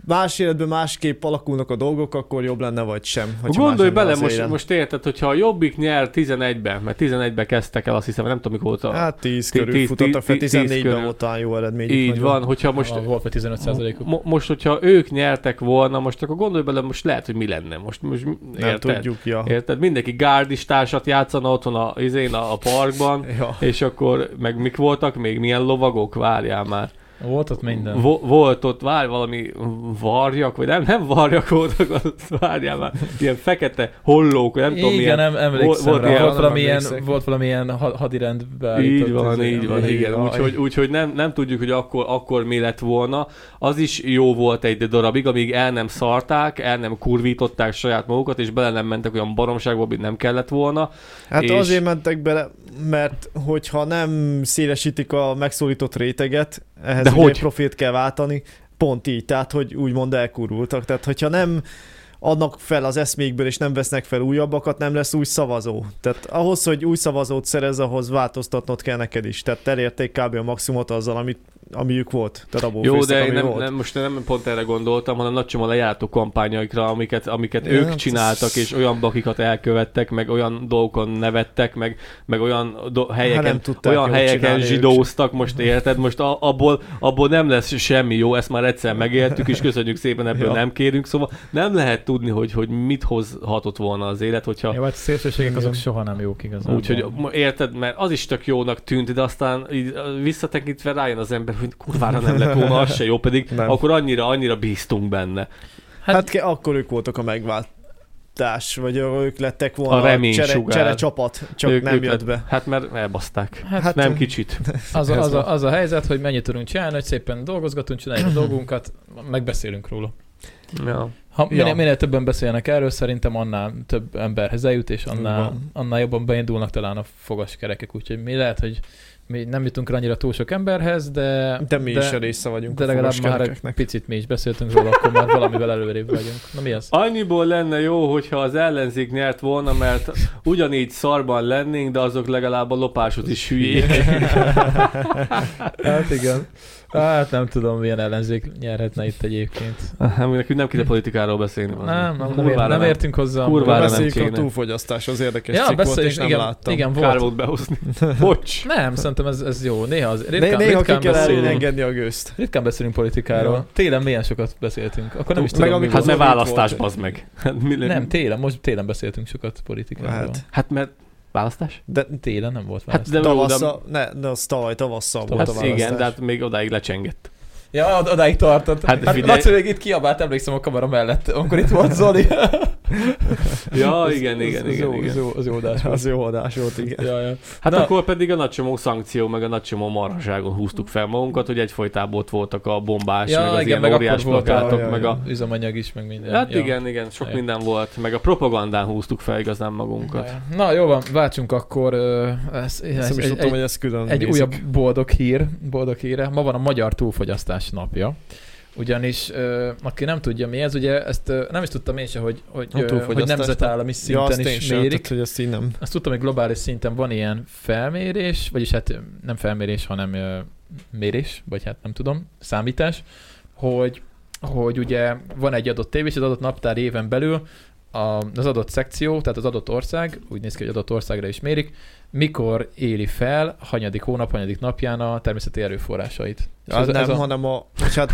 más életben másképp alakulnak a dolgok, akkor jobb lenne, vagy sem. hogyha más Gondolj lenne bele, az most, élet. most érted, hogyha a Jobbik nyer 11-ben, mert 11-ben kezdtek el, azt hiszem, nem tudom, mikor volt a... Hát 10 ti- körül tíz- futott a tíz- tíz 14-ben körül. volt talán jó eredmény. Így van, hogyha most... Most volt vagy 15 százalékuk. mo- Most, hogyha ők nyertek volna, most akkor gondolj bele, most lehet, hogy mi lenne. Most, most mi- Nem érted? tudjuk, ja. Érted? Mindenki gárdistársat játszana otthon a, izén, a, a parkban, Ja. és akkor meg mik voltak még? Milyen lovagok? Várjál már. Volt ott minden. Vo- volt ott, várj, valami varjak, vagy nem, nem varjak voltak, ott, várjál már, ilyen fekete hollók, nem tudom Igen, milyen. nem emlékszem volt, volt, rá. ilyen, volt, valamilyen, emlékszek. volt valamilyen ha- hadirendbe így állított van, izé, így van, emlék. igen. Aj. Úgyhogy, úgyhogy nem, nem tudjuk, hogy akkor, akkor mi lett volna. Az is jó volt egy darabig, amíg el nem szarták, el nem kurvították saját magukat, és bele nem mentek olyan baromságba, amit nem kellett volna. Hát és... azért mentek bele, mert hogyha nem szélesítik a megszólított réteget, ehhez De ugye hogy? profilt kell váltani, pont így, tehát hogy úgymond elkurultak. Tehát hogyha nem adnak fel az eszmékből, és nem vesznek fel újabbakat, nem lesz új szavazó. Tehát ahhoz, hogy új szavazót szerez, ahhoz változtatnod kell neked is. Tehát elérték kb. a maximumot azzal, amit, amiük volt. Tehát abból Jó, főztek, de én ami nem, volt. nem, most nem pont erre gondoltam, hanem nagycsomó lejártó kampányaikra, amiket, amiket Ja, ők hát csináltak, ez- és olyan bakikat elkövettek, meg olyan dolgokon nevettek, meg, meg olyan do- helyeken, Hát nem tudták olyan jól helyeken csinálni ők zsidóztak, most érted? Most a, abból, abból nem lesz semmi jó, ezt már egyszer megéltük, és köszönjük szépen, ebből Ja. nem kérünk, szóval nem lehet tudni, hogy, hogy mit hozhatott volna az élet, hogyha Jó, hát szélsőségek azok Igen. soha nem jók igazából. Úgyhogy ma- érted, mert az is tök jónak tűnt, de aztán így ö, visszatekintve rájön az ember, hogy kurvára nem lett volna, az se jó, pedig Nem. nem. akkor annyira, annyira bíztunk benne. Hát, hát ke- akkor ők voltak a megvált társ, vagy ők lettek volna a, remény csere, sugár. csere csapat, csak Ők- nem ők jött lett- be. Hát mert elbaszták. Hát- Hát, hát nem kicsit. Az a, Ez az, van. a, az a helyzet, hogy mennyit tudunk csinálni, hogy szépen dolgozgatunk, csináljuk a dolgunkat, megbeszélünk róla. Ja. Ha minél, Ja. minél többen beszélnek erről, szerintem annál több emberhez eljut, és annál, Van. annál jobban beindulnak talán a fogaskerekek. Úgyhogy mi lehet, hogy mi nem jutunk rá annyira túl sok emberhez, de... De mi is a része vagyunk De a legalább már egy fogaskerekeknek. picit mi is beszéltünk róla, akkor már valamivel előrébb vagyunk. Na mi az? Annyiból lenne jó, hogyha az ellenzék nyert volna, mert ugyanígy szarban lennénk, de azok legalább a lopáshoz is hülyék. Hát igen. Hát nem tudom, milyen ellenzék nyerhetne itt egyébként. Nem, nekünk nem kéne politikáról beszélni. van. Nem, nem, nem, Kurvára ér, nem értünk hozzá. Kurvára nem Beszéljük a kéne. túlfogyasztás az érdekes Ja, cikk volt, beszéljünk, és nem igen, láttam. igen, volt. Kár volt behozni. Bocs! Nem, szerintem ez, ez jó. Néha, az, Né- ritkán, néha ki ritkán kell beszélünk. engedni a gőzt. Ritkán beszélünk politikáról. Ja. Télen milyen sokat beszéltünk. Akkor nem is Meg tudom, amikor Hát mi mert volt. választás, bazd meg. Hát mi lenne? Nem, télen, most télen beszéltünk sokat politikáról. Hát. Hát. Hát mert választás? De Télen nem volt Hát választás. de tavasszal, ne, de az tavaly tavasszal volt a Hát választás. igen, de hát még odáig lecsengett. Ja, od- odáig tartott. Hát Hát, hát figyelj. Laci még itt kiabált, emlékszem a kamera mellett, amikor itt volt Zoli. Ja, Ez- igen, ez- igen, ez igen, jó, igen. Az jó, az jó adás volt. Az jó adás volt, igen. Ja, ja. Hát Na. akkor pedig a nagycsomó szankció, meg a nagycsomó marhaságon húztuk fel magunkat, hogy egyfolytában ott voltak a bombás, Ja, meg az igen, ilyen meg akkor óriás volt a- plakátok, ja, ja, meg ja. a... Üzemanyag is, meg minden. Hát Ja. igen, igen, sok Ja. minden volt. Meg a propagandán húztuk fel igazán magunkat. Na jó van, váltsunk akkor ö, ez, Ezt nem is tudtam, hogy ezt külön egy nézik. újabb boldog hír, boldog híre. Ma van a Magyar Túlfogyasztás napja. Ugyanis, ö, aki nem tudja mi ez, ugye ezt ö, nem is tudtam én se, hogy, hogy, A ö, hogy túlfogyasztás nemzetállami nap. szinten Ja, azt én is sem, mérik. tehát, hogy ezt így nem. Azt tudtam, hogy globális szinten van ilyen felmérés, vagyis hát ö, nem felmérés, hanem ö, mérés, vagy hát nem tudom, számítás, hogy, hogy ugye van egy adott tév, és az adott naptár éven belül a, az adott szekció, tehát az adott ország, úgy néz ki, hogy adott országra is mérik, mikor éli fel hanyadik hónap, hanyadik napján a természeti erőforrásait. És Hát nem, ez a... hanem a, és hát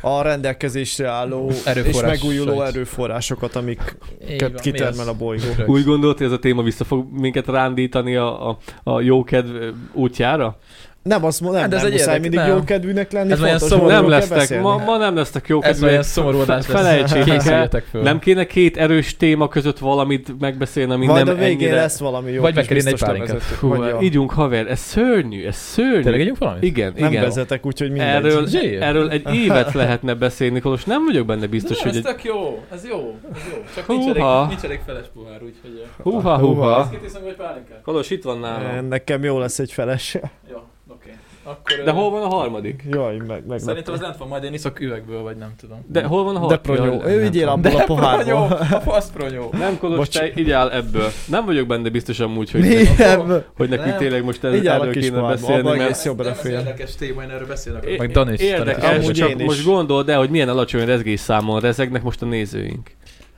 a rendelkezésre álló és Erőforrásait. megújuló erőforrásokat, amik Így ket- van, mi kitermel az? a bolygó. Rögz. Úgy gondolt, hogy ez a téma vissza fog minket rándítani a, a, a jókedv útjára? Nem, azt mondom, nem, Hát ez nem egy muszáj érdek- mindig nem. jókedvűnek lenni, Ez olyan fontos szomorú- Nem dolgokról kell lesztek, beszélni. ma, ma nem lesztek jó Ez olyan szomorú adás lesz. Felejtsétek el, Készüljetek föl. nem kéne két erős téma között valamit megbeszélni, ami Majd nem a végén ennyire... lesz valami jó Vagy kis meg kell inni egy biztos pálinkát. nevezető. Hú, Vagy a- Ígyunk haver, ez szörnyű, ez szörnyű. Tényleg ígyunk valamit? Igen, Nem igen. vezetek, úgyhogy mindegy. Erről, Zsé. erről egy évet lehetne beszélni, Kolos, nem vagyok benne biztos, hogy egy... tök jó, ez jó, ez jó. Csak nincs elég- Húha. nincs elég feles puhár, úgyhogy... Húha, húha. kitűzünk, hogy pálinkát? Kolos, itt van nálam. Nekem jó lesz egy feles. Jó, oké. Akkor, De hol van a harmadik? Jaj, meg, meg. Szerintem az lent van, majd én iszok üvegből, vagy nem tudom. De hol van a De harmadik? pronyó. Ő vigyél a... abból a Pronyó, pohárból. a fasz pronyó. Nem, Kolos, Bocs. te így áll ebből. Nem vagyok benne biztos amúgy, hogy, Igen. hogy nekünk Nem. tényleg most Így erről, áll a erről kis kéne pohárból, beszélni, abban mert egész jobbra fél. érdekes téma, én erről beszélek. É- Meg Danis. Érdekes, Amúgy csak én is. most gondold el, hogy milyen alacsony rezgésszámon rezegnek most a nézőink.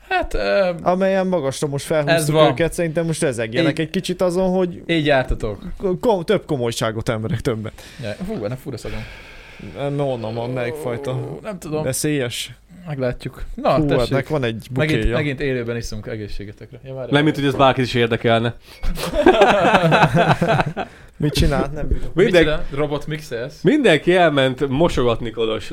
Hát, ö, Amelyen magasra most felhúztuk van. őket, szerintem most rezegjenek Így- egy kicsit azon, hogy így jártatok. kom- több komolyságot emelek többen. Ja, Hú, ennek fura szagom. No, onnan van, melyik fajta. Ó, Nem tudom, De szélyes. meglátjuk. Na, Hú, hát Ah, tessék. nek van egy Megint, bukéja. megint élőben iszunk egészségetekre. Ja, várj, Nem, mint hogy ez bárkit is érdekelne. Mit csinált? Nem Mindenki, Micsoda? Robot mixelsz? mindenki elment mosogatni, Kolos.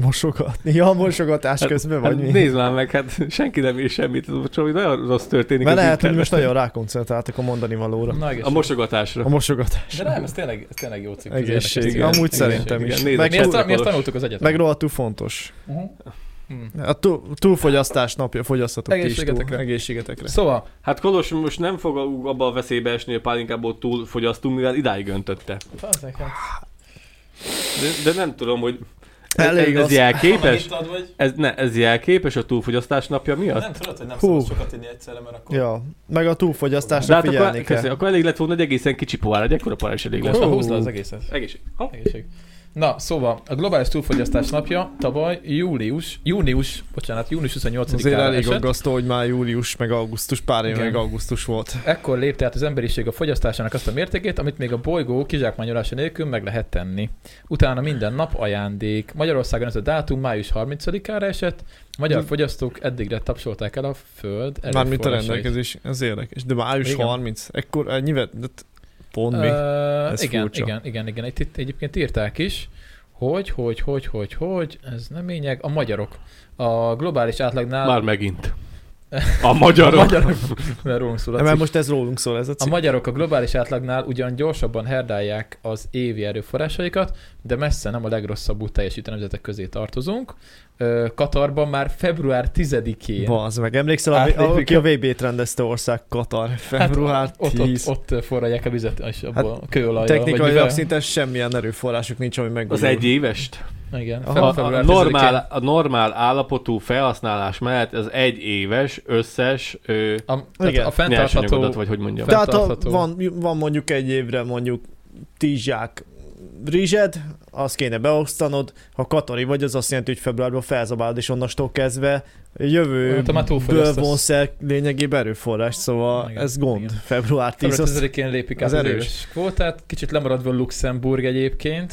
mosogatni. Ja, mosogatás közben vagy Hát, mi? nézd már meg, hát senki nem ír semmit. Ez Csak nagyon rossz történik. Mert az lehet, hogy most interneten. nagyon rákoncentráltak a mondani valóra. Na, A egészség. mosogatásra. A mosogatás. De nem, ez tényleg, ez tényleg jó cikk. ez Egészség. érdekes cikk. Igen, Amúgy egészség, szerintem igen. is. Nézd, Meg Mi ezt, mi ezt Kolos. tanultuk az egyetemen. Meg rohadtul fontos. Uh-huh. Hm. A túl, túlfogyasztás napja, fogyasztatok ti is túl. Egészségetekre. Egészségetekre. Szóval, Hát Kolos most nem fog a- abba a veszélybe esni, hogy pálinkából túl fogyasztunk, mivel idáig öntötte. fazek, hát. De, de nem tudom, hogy e- Elég ez, ez az. jelképes. Annyit ad, vagy? Ez, ne, ez jelképes a túlfogyasztás napja miatt? Nem tudod, hogy nem Hú. szabad sokat inni egyszerre, mert akkor... Ja, meg a túlfogyasztásra De hát figyelni akkor, kell. köszönöm, akkor elég lett volna egy egészen kicsi pohár, egy ekkora pohár is elég lesz. Hú. Hú. Húzd le az egészet. Egészség. Ha? Egészség. Na, szóval a globális túlfogyasztás napja tavaly július, június, bocsánat, június Azért 28-án elég esett. aggasztó, hogy már július, meg augusztus, pár éve Igen. meg augusztus volt. Ekkor lépte át az emberiség a fogyasztásának azt a mértékét, amit még a bolygó kizsákmányolása nélkül meg lehet tenni. Utána minden nap ajándék. Magyarországon ez a dátum május 30-ára esett. Magyar fogyasztók eddigre tapsolták el a föld Hm. Mármint a erőforrásait. rendelkezés, ez érdekes. De május Igen. 30, ekkor ennyi vett, de t- pont mi? Ö, Ez igen, furcsa. igen, igen, igen. Itt, itt egyébként írták is, hogy, hogy, hogy, hogy, hogy, ez nem lényeg, a magyarok. A globális átlagnál Már megint. A magyarok. A magyarok. Mert rólunk szól a Mert cikk. most ez rólunk szól, ez a A cikk. magyarok a globális átlagnál ugyan gyorsabban herdálják az évi erőforrásaikat, de messze nem a legrosszabbul teljesítő nemzetek közé tartozunk. Ö, Katarban már február 10-én Bazd meg, emlékszel, ami- Átlépjük aki a VB-t rendezte ország Katar, február Hát ott, 10. Ott, ott forralják a vizet, és Hát, abból a kőolajra. Technikailag szinte semmilyen erőforrásuk nincs, ami megújul. Az egy évest. Igen. A, a, Február normál, 10-én. a normál állapotú felhasználás mellett az egy éves összes ö, A, tehát Igen. a fenntartható... nyersanyagodat, vagy hogy mondjam. Tehát ha fenntartható. van, van mondjuk egy évre mondjuk 10 zsák rizsed, azt kéne beosztanod, ha katari vagy, az azt jelenti, hogy februárban felzabálod, és onnastól kezdve Hát, ha már jövőből túlfogyasztasz. vonsz el lényegében erőforrás, szóval Igen, ez gond. Február 10 Február az 10-én lépik át az az, erős. éves kvótát, kicsit lemaradva Luxemburg egyébként.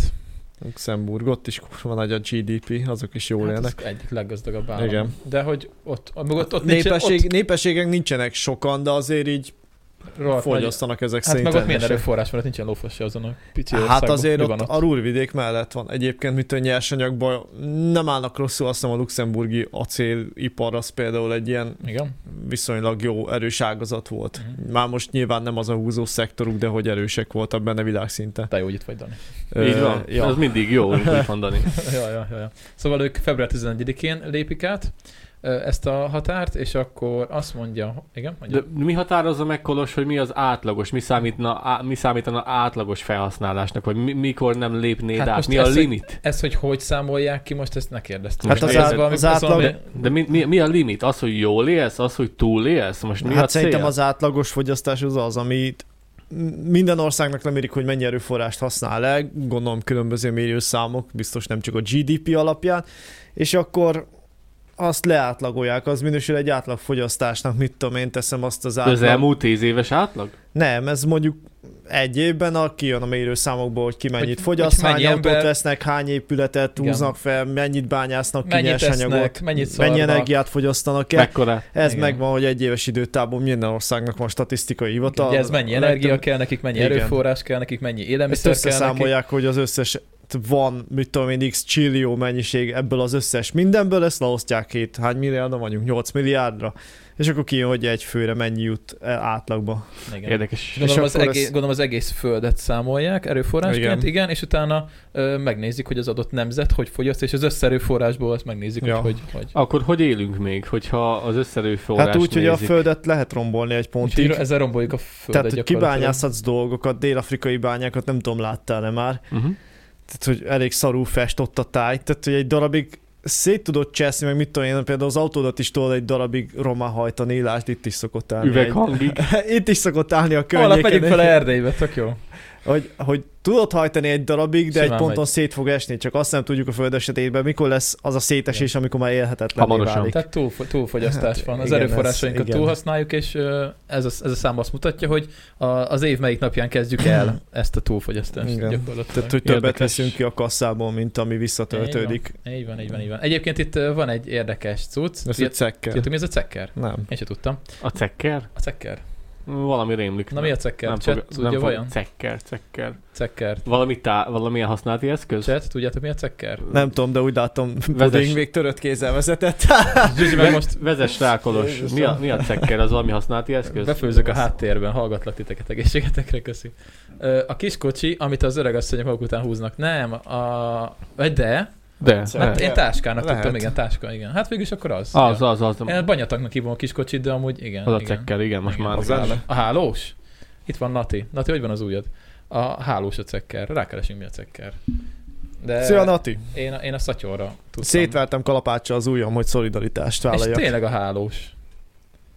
Luxemburg, ott is kurva nagy a GDP, azok is jól Hát élnek. az egyik leggazdagabb állam. Igen. De hogy ott, ott, ott, ott Népesség, nincs, ott Népességek nincsenek sokan, de azért így Rohadt fogyasztanak ezek hát szerint meg ott milyen rendesen. erőforrás van, ott nincsen lófasz se azon a pici Hát országban. azért Mi ott, van a Rúrvidék mellett van. Egyébként mit a nyersanyagban nem állnak rosszul, azt hiszem a luxemburgi acélipar az például egy ilyen Igen. viszonylag jó erős ágazat volt. Már most nyilván nem az a húzó szektoruk, de hogy erősek voltak benne világszinten. Te jó, hogy itt vagy, Dani. Ö, Így van. ja. Ez mindig jó, úgy mondani. ja, ja, ja, ja. Szóval ők február 11-én lépik át ö, ezt a határt, és akkor azt mondja, igen, mondja. De mi határozza meg, Kolos, hogy mi az átlagos, mi, számítna, á, mi számítana átlagos felhasználásnak, vagy mi, mikor nem lépnéd hát át, mi a ezt, limit? Hogy, ezt, hogy hogy számolják ki, most ezt ne kérdeztem. Hát Most Most nézed. ez valami- ez valami- De mi, mi, mi a limit? Az, hogy jól élsz? Az, hogy túl élsz? Most mi hát a szerintem cél? az átlagos fogyasztás az az, amit m- minden országnak lemérik, hogy mennyi erőforrást használ el, gondolom különböző mérőszámok, biztos nem csak a GDP alapján, és akkor azt leátlagolják, az minősül egy átlagfogyasztásnak, mit tudom én, teszem azt az De Az átlag. elmúlt tíz éves átlag? Nem, ez mondjuk egy évben a, kijön a mérőszámokból, hogy ki mennyit Hogy- fogyaszt, hogy hány mennyi autót ember- vesznek, hány épületet Igen. húznak fel, mennyit bányásznak ki Mennyit nyersanyagot, esznek, mennyit mennyi szarnak. energiát fogyasztanak el. Mekkora? Ez Igen. megvan, hogy egy éves időtávon minden országnak van statisztikai hivatal. Ugye ez mennyi energia Legtöbb- kell nekik, mennyi Igen. erőforrás kell nekik, mennyi Ezt élelmiszer kell nekik. összeszámolják, hogy az összes van, mit tudom én, x csillió mennyiség ebből az összes mindenből, ezt leosztják két, hány milliárdra vagyunk, 8 milliárdra, és akkor kijön, hogy egy főre mennyi jut eh, átlagba. Igen. Érdekes. Gondolom És az, akkor egész, ezt- gondolom az egész földet számolják erőforrásként, igen, Igen. igen és utána ö, megnézik, hogy az adott nemzet hogy fogyaszt, és az összerőforrásból azt megnézik, ja. Ja. hogy, hogy, Akkor hogy élünk még, hogyha az összerőforrás Hát úgy, hogy a nézik? földet lehet rombolni egy hogy pontig. ezzel romboljuk a földet Tehát, hogy gyakorlatilag. kibányászhatsz dolgokat, dél-afrikai bányákat, nem tudom, láttál-e már. Uh-huh. Tehát, hogy elég szarú fest ott a táj. Tehát, hogy egy darabig szét tudod cseszni, meg mit tudom én, például az autódat is tudod egy darabig romá hajtani, lásd, itt is szokott állni. Üveghangig. Egy... itt is szokott állni a környéken. Holnap megyünk fel Erdélybe, tök jó. Hogy, hogy tudod hajtani egy darabig, de Simán egy ponton megy. szét fog esni, csak azt nem tudjuk a föld esetében, mikor lesz az a szétesés, amikor már élhetetlen Hamarosan. válik. Tehát túl, túlfogyasztás Hát van, az igen, erőforrásainkat ez- igen. túlhasználjuk, és ö, ez a, ez a szám azt mutatja, hogy a, az év melyik napján kezdjük el ezt a túlfogyasztást Igen. gyakorlatilag. Tehát, hogy többet Érdekes. veszünk ki a kasszából, mint ami visszatöltődik. Így van, így van, így van. Egyébként itt ö, van egy érdekes cucc. Ez Ti- egy cekker. Tudjátok, mi ez a cekker? Nem. Én se tudtam. A cekker? A cekker. Valami rémlik. Na mi a cekker? Nem Chat fog, tudja nem vajon? fog, cekker, cekker. Cekker. Valami tá, valamilyen használati eszköz? Chat, tudjátok mi a cekker? Nem tudom, de úgy látom, Vezess. puding még törött kézzel vezetett. Zsuzsi, meg most Vezess rá, Kolos. Mi a, mi a cekker? Az valami használati eszköz? befőzök a háttérben, hallgatlak titeket, egészségetekre, köszi. Ö, A kiskocsi, amit az öregasszonyok maguk után húznak. Nem, a... Vagy de, De. Hát én táskának Lehet. tudtam, igen, táska, igen. Hát végülis akkor az. Az, ja. az, az. Én banyatagnak hívom a kiskocsit, de amúgy igen. Az a igen. cekker, igen, most Igen. már. Az lenne. A hálós? Itt van Nati. Nati, hogy van az újad? A hálós a cekker. Rákeresünk mi a cekker. De Szia, Nati! én, én a szatyorra tudtam. Szétvertem kalapáccsal az ujjam, hogy szolidaritást És vállaljak. tényleg a hálós.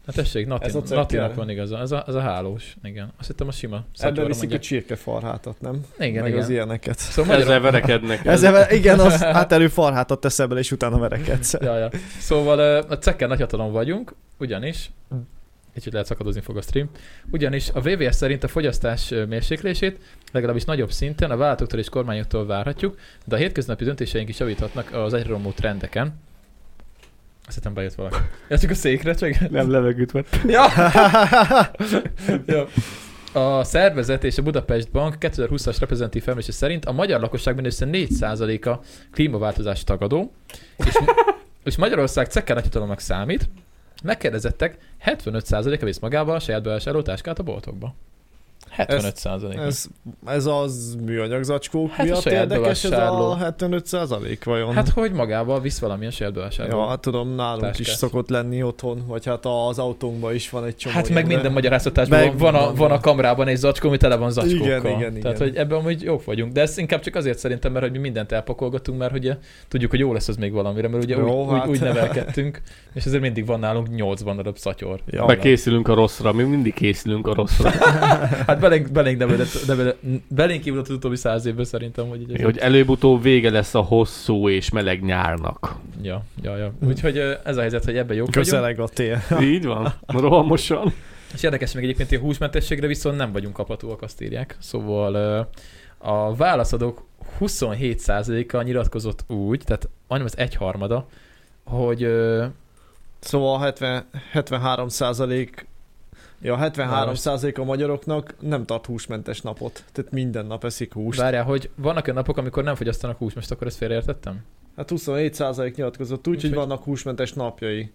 Hát tessék, Ez a Nati, cekker. Natinak van igaza. Ez a, ez a hálós, igen. Azt hittem a sima szatyorra Ebben viszik a mondják. csirkefarhátat, nem? Igen, Meg igen. az ilyeneket. Szóval magyarul- Ezzel verekednek. Ezzel, e- igen, az átelő farhátat tesz bele, és utána verekedsz. ja, ja. Szóval ö, a cekken nagyhatalom vagyunk, ugyanis, kicsit lehet szakadozni fog a stream, ugyanis a VVS szerint a fogyasztás ö, mérséklését legalábbis nagyobb szinten a vállalatoktól és kormányoktól várhatjuk, de a hétköznapi döntéseink is javíthatnak az egyre romló trendeken. Azt hittem bejött valaki. Ja, csak a székre, csak... Nem levegőt vett. Ja. ja. A szervezet és a Budapest Bank 2020-as reprezentatív felmérése szerint a magyar lakosság mindössze 4%-a klímaváltozás tagadó, és, és Magyarország cekker nagyhatalomnak számít, Megkérdezettek, 75%-a visz magával a saját bevásárló táskát a boltokba. 75%. Ez, ez az műanyag zacskók Hát a hát miatt saját érdekes ez bevásárló. a 75 százalék vajon? Hát hogy magával visz valamilyen saját bevásárló ja, hát tudom, nálunk is táskát. szokott lenni otthon, vagy hát az autónkban is van egy csomó Hát meg ilyen, de- minden magyaráztatásban meg van, a, van a kamrában egy zacskó, ami tele van zacskókkal. Igen, igen, Tehát, igen. hogy ebben amúgy jók vagyunk. De ez inkább csak azért szerintem, mert hogy mi mindent elpakolgatunk, mert ugye tudjuk, hogy jó lesz az még valamire, mert ugye Jó, úgy, hát. úgy, úgy, nevelkedtünk, és ezért mindig van nálunk 80 darab szatyor. Ja, Meg készülünk a rosszra, mi mindig készülünk a rosszra. hát belénk, belénk, nevelett, nevelett, belénk kívül az utóbbi száz évben szerintem, hogy így ez- hogy előbb-utóbb vége lesz a hosszú és meleg nyárnak. Ja, ja, ja. Úgyhogy ö, ez a helyzet, hogy ebben jók Közeleg a vagyunk. tél. Így van, rohamosan. És érdekes még egyébként, hogy a húsmentességre viszont nem vagyunk kaphatóak, azt írják. Szóval ö, a válaszadók 27%-a nyilatkozott úgy, tehát majdnem az egyharmada, hogy ö, Szóval 70, 73 százalék Ja, 73 százalék a magyaroknak nem tart húsmentes napot. Tehát minden nap eszik húst. várjál, hogy vannak olyan napok, amikor nem fogyasztanak húst, most akkor ezt félreértettem? Hát 27 százalék nyilatkozott úgy, hogy vannak húsmentes napjai.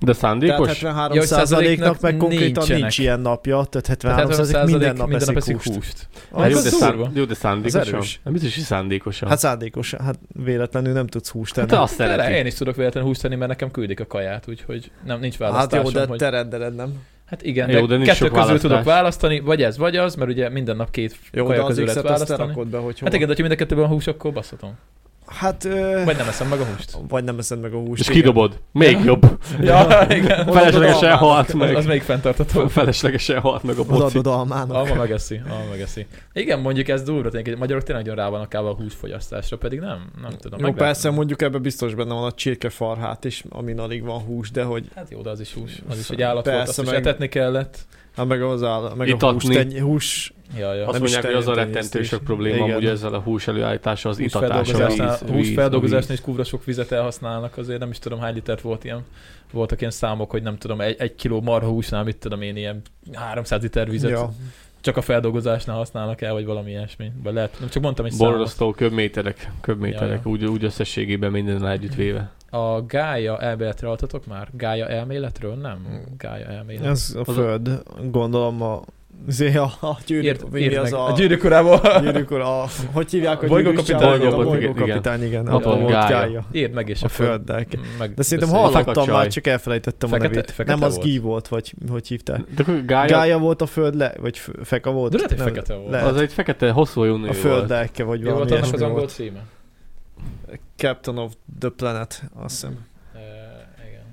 De szándékos? Tehát hát, 73 százaléknak meg konkrétan nincs ilyen napja, tehát 73 százalék minden nap minden eszik húst. Hát jó, de szán, jó, de szándékosan. erős. Nem biztos, hogy szándékosan. Hát szándékosan, hát véletlenül nem tudsz húst tenni. Hát De le, Én is tudok véletlenül húst tenni, mert nekem küldik a kaját, úgyhogy nem, nincs Hát választásom. jó, de hogy... te rendeled, nem? Hát igen, Jó, de, de nincs kettő sok közül választás. tudok választani, vagy ez, vagy az, mert ugye minden nap két Jó, de kaja az közül lehet X-et azt te választani. rakod be, hogy hol. hát igen, de ha mind a kettőben van hús, akkor basszatom. Hát... Ö... Vagy nem eszem meg a húst. Vagy nem eszed meg a húst. És igen. kidobod. Még jobb. Ja, igen. Feleslegesen halt meg. Az még fenntartható. Feleslegesen halt meg a boci. Odaadod almának. Alma megeszi, alma megeszi. Igen, mondjuk ez durva, tényleg, hogy magyarok tényleg nagyon rá vannak állva a húsfogyasztásra, pedig nem, nem tudom. Jó, meg- persze mondjuk ebben biztos benne van a csirkefarhát is, amin alig van hús, de hogy... Hát jó, de az is hús. Az is egy állat volt, azt Persze, is meg- etetni kellett. Hát meg az áll, meg a Itatni. hús, teny, hús Ja, ja. Azt nem is mondják, hogy az a tenyésztés. rettentő sok probléma Igen. amúgy ezzel a hús előállítása, az itatás, a víz, Húsfeldolgozásnál, víz, húsfeldolgozásnál is kúra sok vizet elhasználnak, azért nem is tudom hány litert volt ilyen, voltak ilyen számok, hogy nem tudom, egy, egy kiló marha húsnál, mit tudom én, ilyen 300 liter vizet Ja. csak a feldolgozásnál használnak el, vagy valami ilyesmi. Vagy lehet, nem csak mondtam egy számot. Borzasztó köbméterek, köbméterek, úgy, úgy összességében minden együtt véve. A Gája elméletre altatok már? Gája elméletről? Nem. Gája elmélet. Hmm. Ez a föld, gondolom a... Azért a, a gyűrű, Írd- mi írd az meg. a... A gyűrűk urából. Gyűrűk ura, a, hogy hívják a Bolygókapitány. gyűrűk Bolygókapitány, urát? A igen. bolygókapitány, igen. Abban Abban van volt Gája. gája. Írd meg, és a akkor földdel. meg- De szerintem beszéljük. hallottam Fekete már, csaj. csak elfelejtettem a Fekete- nevét. fekete Nem az volt. Guy volt, vagy hogy hívták. De akkor Gája- Gája volt a föld le, vagy f- feka volt? De lehet, hogy Nem, fekete volt. lehet. Az egy fekete, hosszú jó nő A föld lelke, vagy Jó valami volt annak az ilyesmi angol volt. címe? Captain of the Planet, azt hiszem. Ö, igen.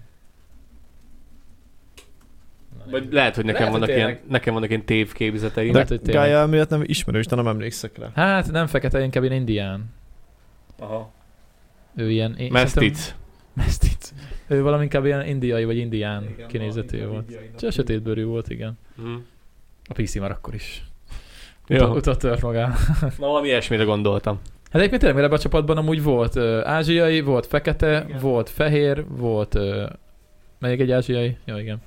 Vagy lehet, hogy nekem Lehet, vannak hogy ilyen, tényleg. nekem vannak ilyen tévképzeteim. De Gája miatt nem ismerős, de nem emlékszek rá. Hát nem fekete, inkább én indián. Aha. Ő ilyen... én- Mestic. szerintem- Mestic. Ő valami inkább ilyen indiai vagy indián igen, kinézetű volt. Csak sötétbőrű volt, igen. Hm. Mhm. A PC már akkor is. Jó. Jó. Utat tört magán. Na, valami ilyesmire gondoltam. Hát egyébként tényleg mert ebben a csapatban amúgy volt ö, ázsiai, volt fekete, igen. volt fehér, volt... Ö, melyik egy ázsiai? Jó, igen.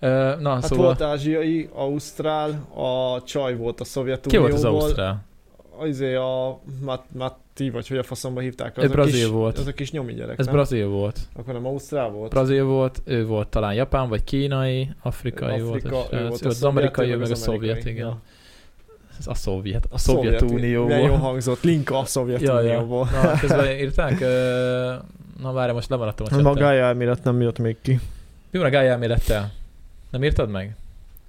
Ö, na, Hát szóval... volt ázsiai, ausztrál, a csaj volt a Ki Szovjetunióból. volt az ausztrál? Azért a Mat- Matti, vagy hogy a faszomba hívták? Ő brazil kis, volt. Az a kis nyomi gyerek, Ez nem? brazil volt. Akkor nem ausztrál volt? Brazil volt, ő volt talán japán, vagy kínai, afrikai Afrika, volt, ő és, volt a az, az szovjet, amerikai, ő ő meg meg a az szovjet, amerikai, igen. ja. Ez a szovjet, a Szovjet- Szovjetunió milyen jól volt. hangzott, Linka a Szovjetunióból. Ja, ja. Na, hát közben írták, ö, na várj, most lemaradtam a Nem a csetten. Gaia elmélet nem jött még ki. Mi van a gája elmélettel? Nem írtad meg?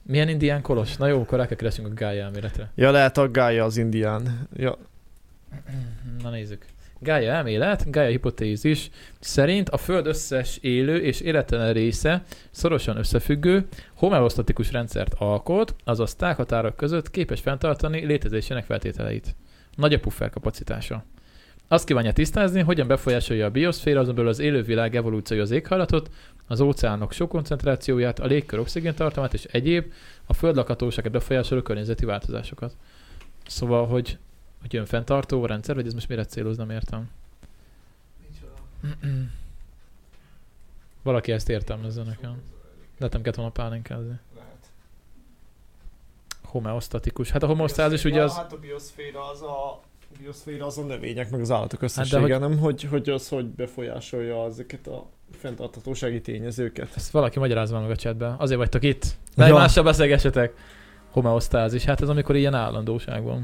Milyen indián kolos? Na jó, akkor rá kell keresünk a gája elméletre. Ja, lehet a Gaia az indián. Ja. Na nézzük. Gája elmélet, Gája hipotézis szerint a Föld összes élő és életlen része szorosan összefüggő, homeosztatikus rendszert alkot, azaz tághatárok között képes fenntartani létezésének feltételeit. Nagy a puffer kapacitása. Azt kívánja tisztázni, hogyan befolyásolja a bioszféra, azon belül az élővilág evolúciója az éghajlatot, az óceánok sok koncentrációját, a légkör oxigéntartalmát és egyéb a föld lakhatóságát befolyásoló környezeti változásokat. Szóval, hogy, hogy jön fenntartó rendszer, vagy ez most mire céloz, nem értem. Valaki ezt értelmezze nekem. De nem kellett volna pálinkázni. Homeosztatikus. Hát a homeosztázis ugye az... Hát a bioszféra az a bioszféra az a növények, meg az állatok összessége, de hát hogy- nem? Hogy, hogy az hogy befolyásolja ezeket a fenntarthatósági tényezőket. Ezt valaki magyarázza meg a chatben. Azért vagytok itt. Ne ja. Ja. mással beszélgessetek. Homeosztázis. Hát ez amikor ilyen állandóság van.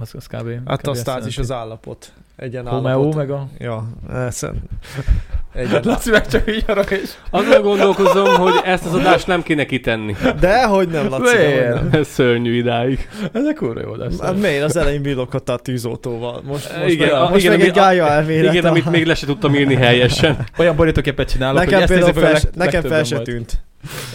Az, az kb. Hát kb. a azt sztázis jelenti. az állapot. Egyen Homeó állapot. meg a- Ja, eszen. Hát Laci meg csak így arra is. Azon gondolkozom, hogy ezt az adást nem kéne kitenni. De, hogy nem, Laci, de, hogy nem. Ez szörnyű idáig. Ezek kurva jó lesz. Hát miért az elején villoghattál tűzoltóval? Most, Igen, most igen, meg, a- most igen, meg ami- egy gálya elmélet. Igen, amit még le se tudtam írni helyesen. Olyan borítóképet csinálok, Nekem hogy ezt például nézzük meg fel, a se- leg- nekem fel legtöbben se majd.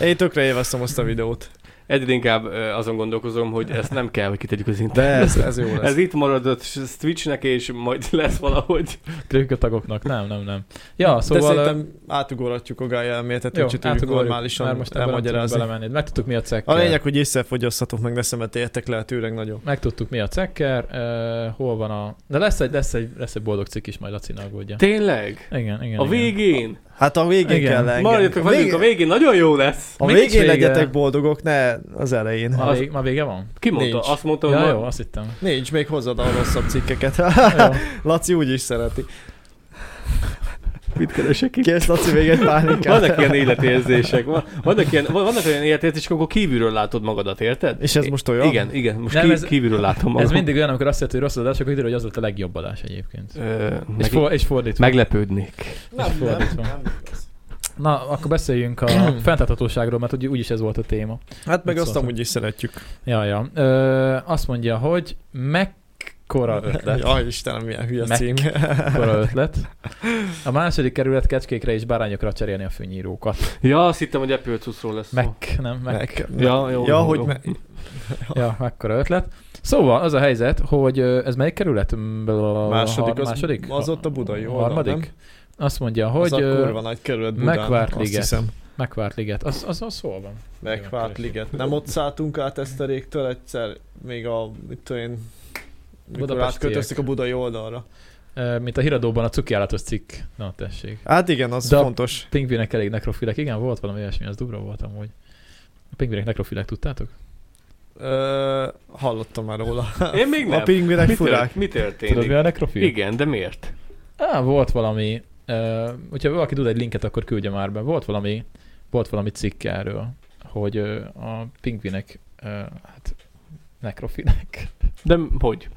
tűnt. Én tökre élveztem azt a videót. Egyre inkább ö, azon gondolkozom, hogy ezt nem kell, hogy kitegyük az internetre. De ez, ez jó lesz. Ez itt marad a Twitchnek, és majd lesz valahogy. Küldjük a tagoknak. Nem, nem, nem. Ja, De szóval... ö, szerintem átugorhatjuk a gálya elméletet, úgyse tudjuk átugorjuk, normálisan mert most ebben nem tudunk elmagyarázni. belemenni. Megtudtuk mi a cekk. A lényeg, hogy észrefogyasztatok meg, ne szemetéljetek lehetőleg nagyon. Megtudtuk mi a cekker, uh, hol van a... De lesz egy, lesz egy, lesz egy boldog cikk is majd Laci ne aggódja. Tényleg? Igen, igen. A igen. végén. Hát a végén Igen. kell engem. Maradjatok velünk, a végén nagyon jó lesz. A Mi nincs végén vége? legyetek boldogok, ne az elején. Ma, vég, ma vége van? Ki mondta? Nincs. Azt mondta, hogy Ja, ma- jó, azt hittem. Nincs, még hozzad a rosszabb cikkeket. Laci úgy is szereti. Mit keresek Kész Laci még egy pálinkát. Vannak ilyen életérzések, van- vannak ilyen, van- vannak olyan életérzések, amikor kívülről látod magadat, érted? És ez most olyan? Igen, igen, most ki, kívülről látom magam. Ez mindig olyan, amikor azt jelenti, hogy rossz az adás, akkor kiderül, hogy az volt a legjobb adás egyébként. Ö, és, meg- for, és fordítva. Meglepődnék. és fordítva. Na, akkor beszéljünk a fenntarthatóságról, mert úgy, úgyis ez volt a téma. Hát meg Mit azt szóltok? amúgy is szeretjük. Ja, ja. Ö, azt mondja, hogy mekkora ötlet. Ja, Istenem, milyen hülye cím. Mekkora ötlet. A második kerület kecskékre és bárányokra cserélni a fűnyírókat. Ja, azt hittem, hogy Apple cuccról lesz szó. Meg, nem, meg. Ja, jó. Ja, jó, hogy jó. me- Ja, mekkora ötlet. Szóval az a helyzet, hogy ö, ez melyik kerület? Mm, a Második, har- az, második? az ott a budai oldal, harmadik? nem? Azt mondja, Az hogy... a ö, kurva nagy kerület Budán, Megvárt azt liget. hiszem. Megvárt liget. Az, az, az hol van? Megvárt liget. Nem ott szálltunk át Eszteréktől egyszer, még a, mit tudom én, mikor Budapestiek. átköltöztük a budai oldalra. Ö, Mint a híradóban a cukiállatos cikk. Na, tessék. Hát igen, az De a fontos. Pingvinek elég nekrofilek. Igen, volt valami ilyesmi, az durva volt amúgy. A pingvinek nekrofilek, tudtátok? Ö, hallottam már róla. Én még nem. A pingvinek mi tört- furák. Mi történik? Tudod, mi a nekrofil? Igen, de miért? Á, volt valami, uh, hogyha valaki tud egy linket, akkor küldje már be. Volt valami, volt valami cikk erről, hogy ö, a pingvinek, ö, hát nekrofinek. De m- hogy?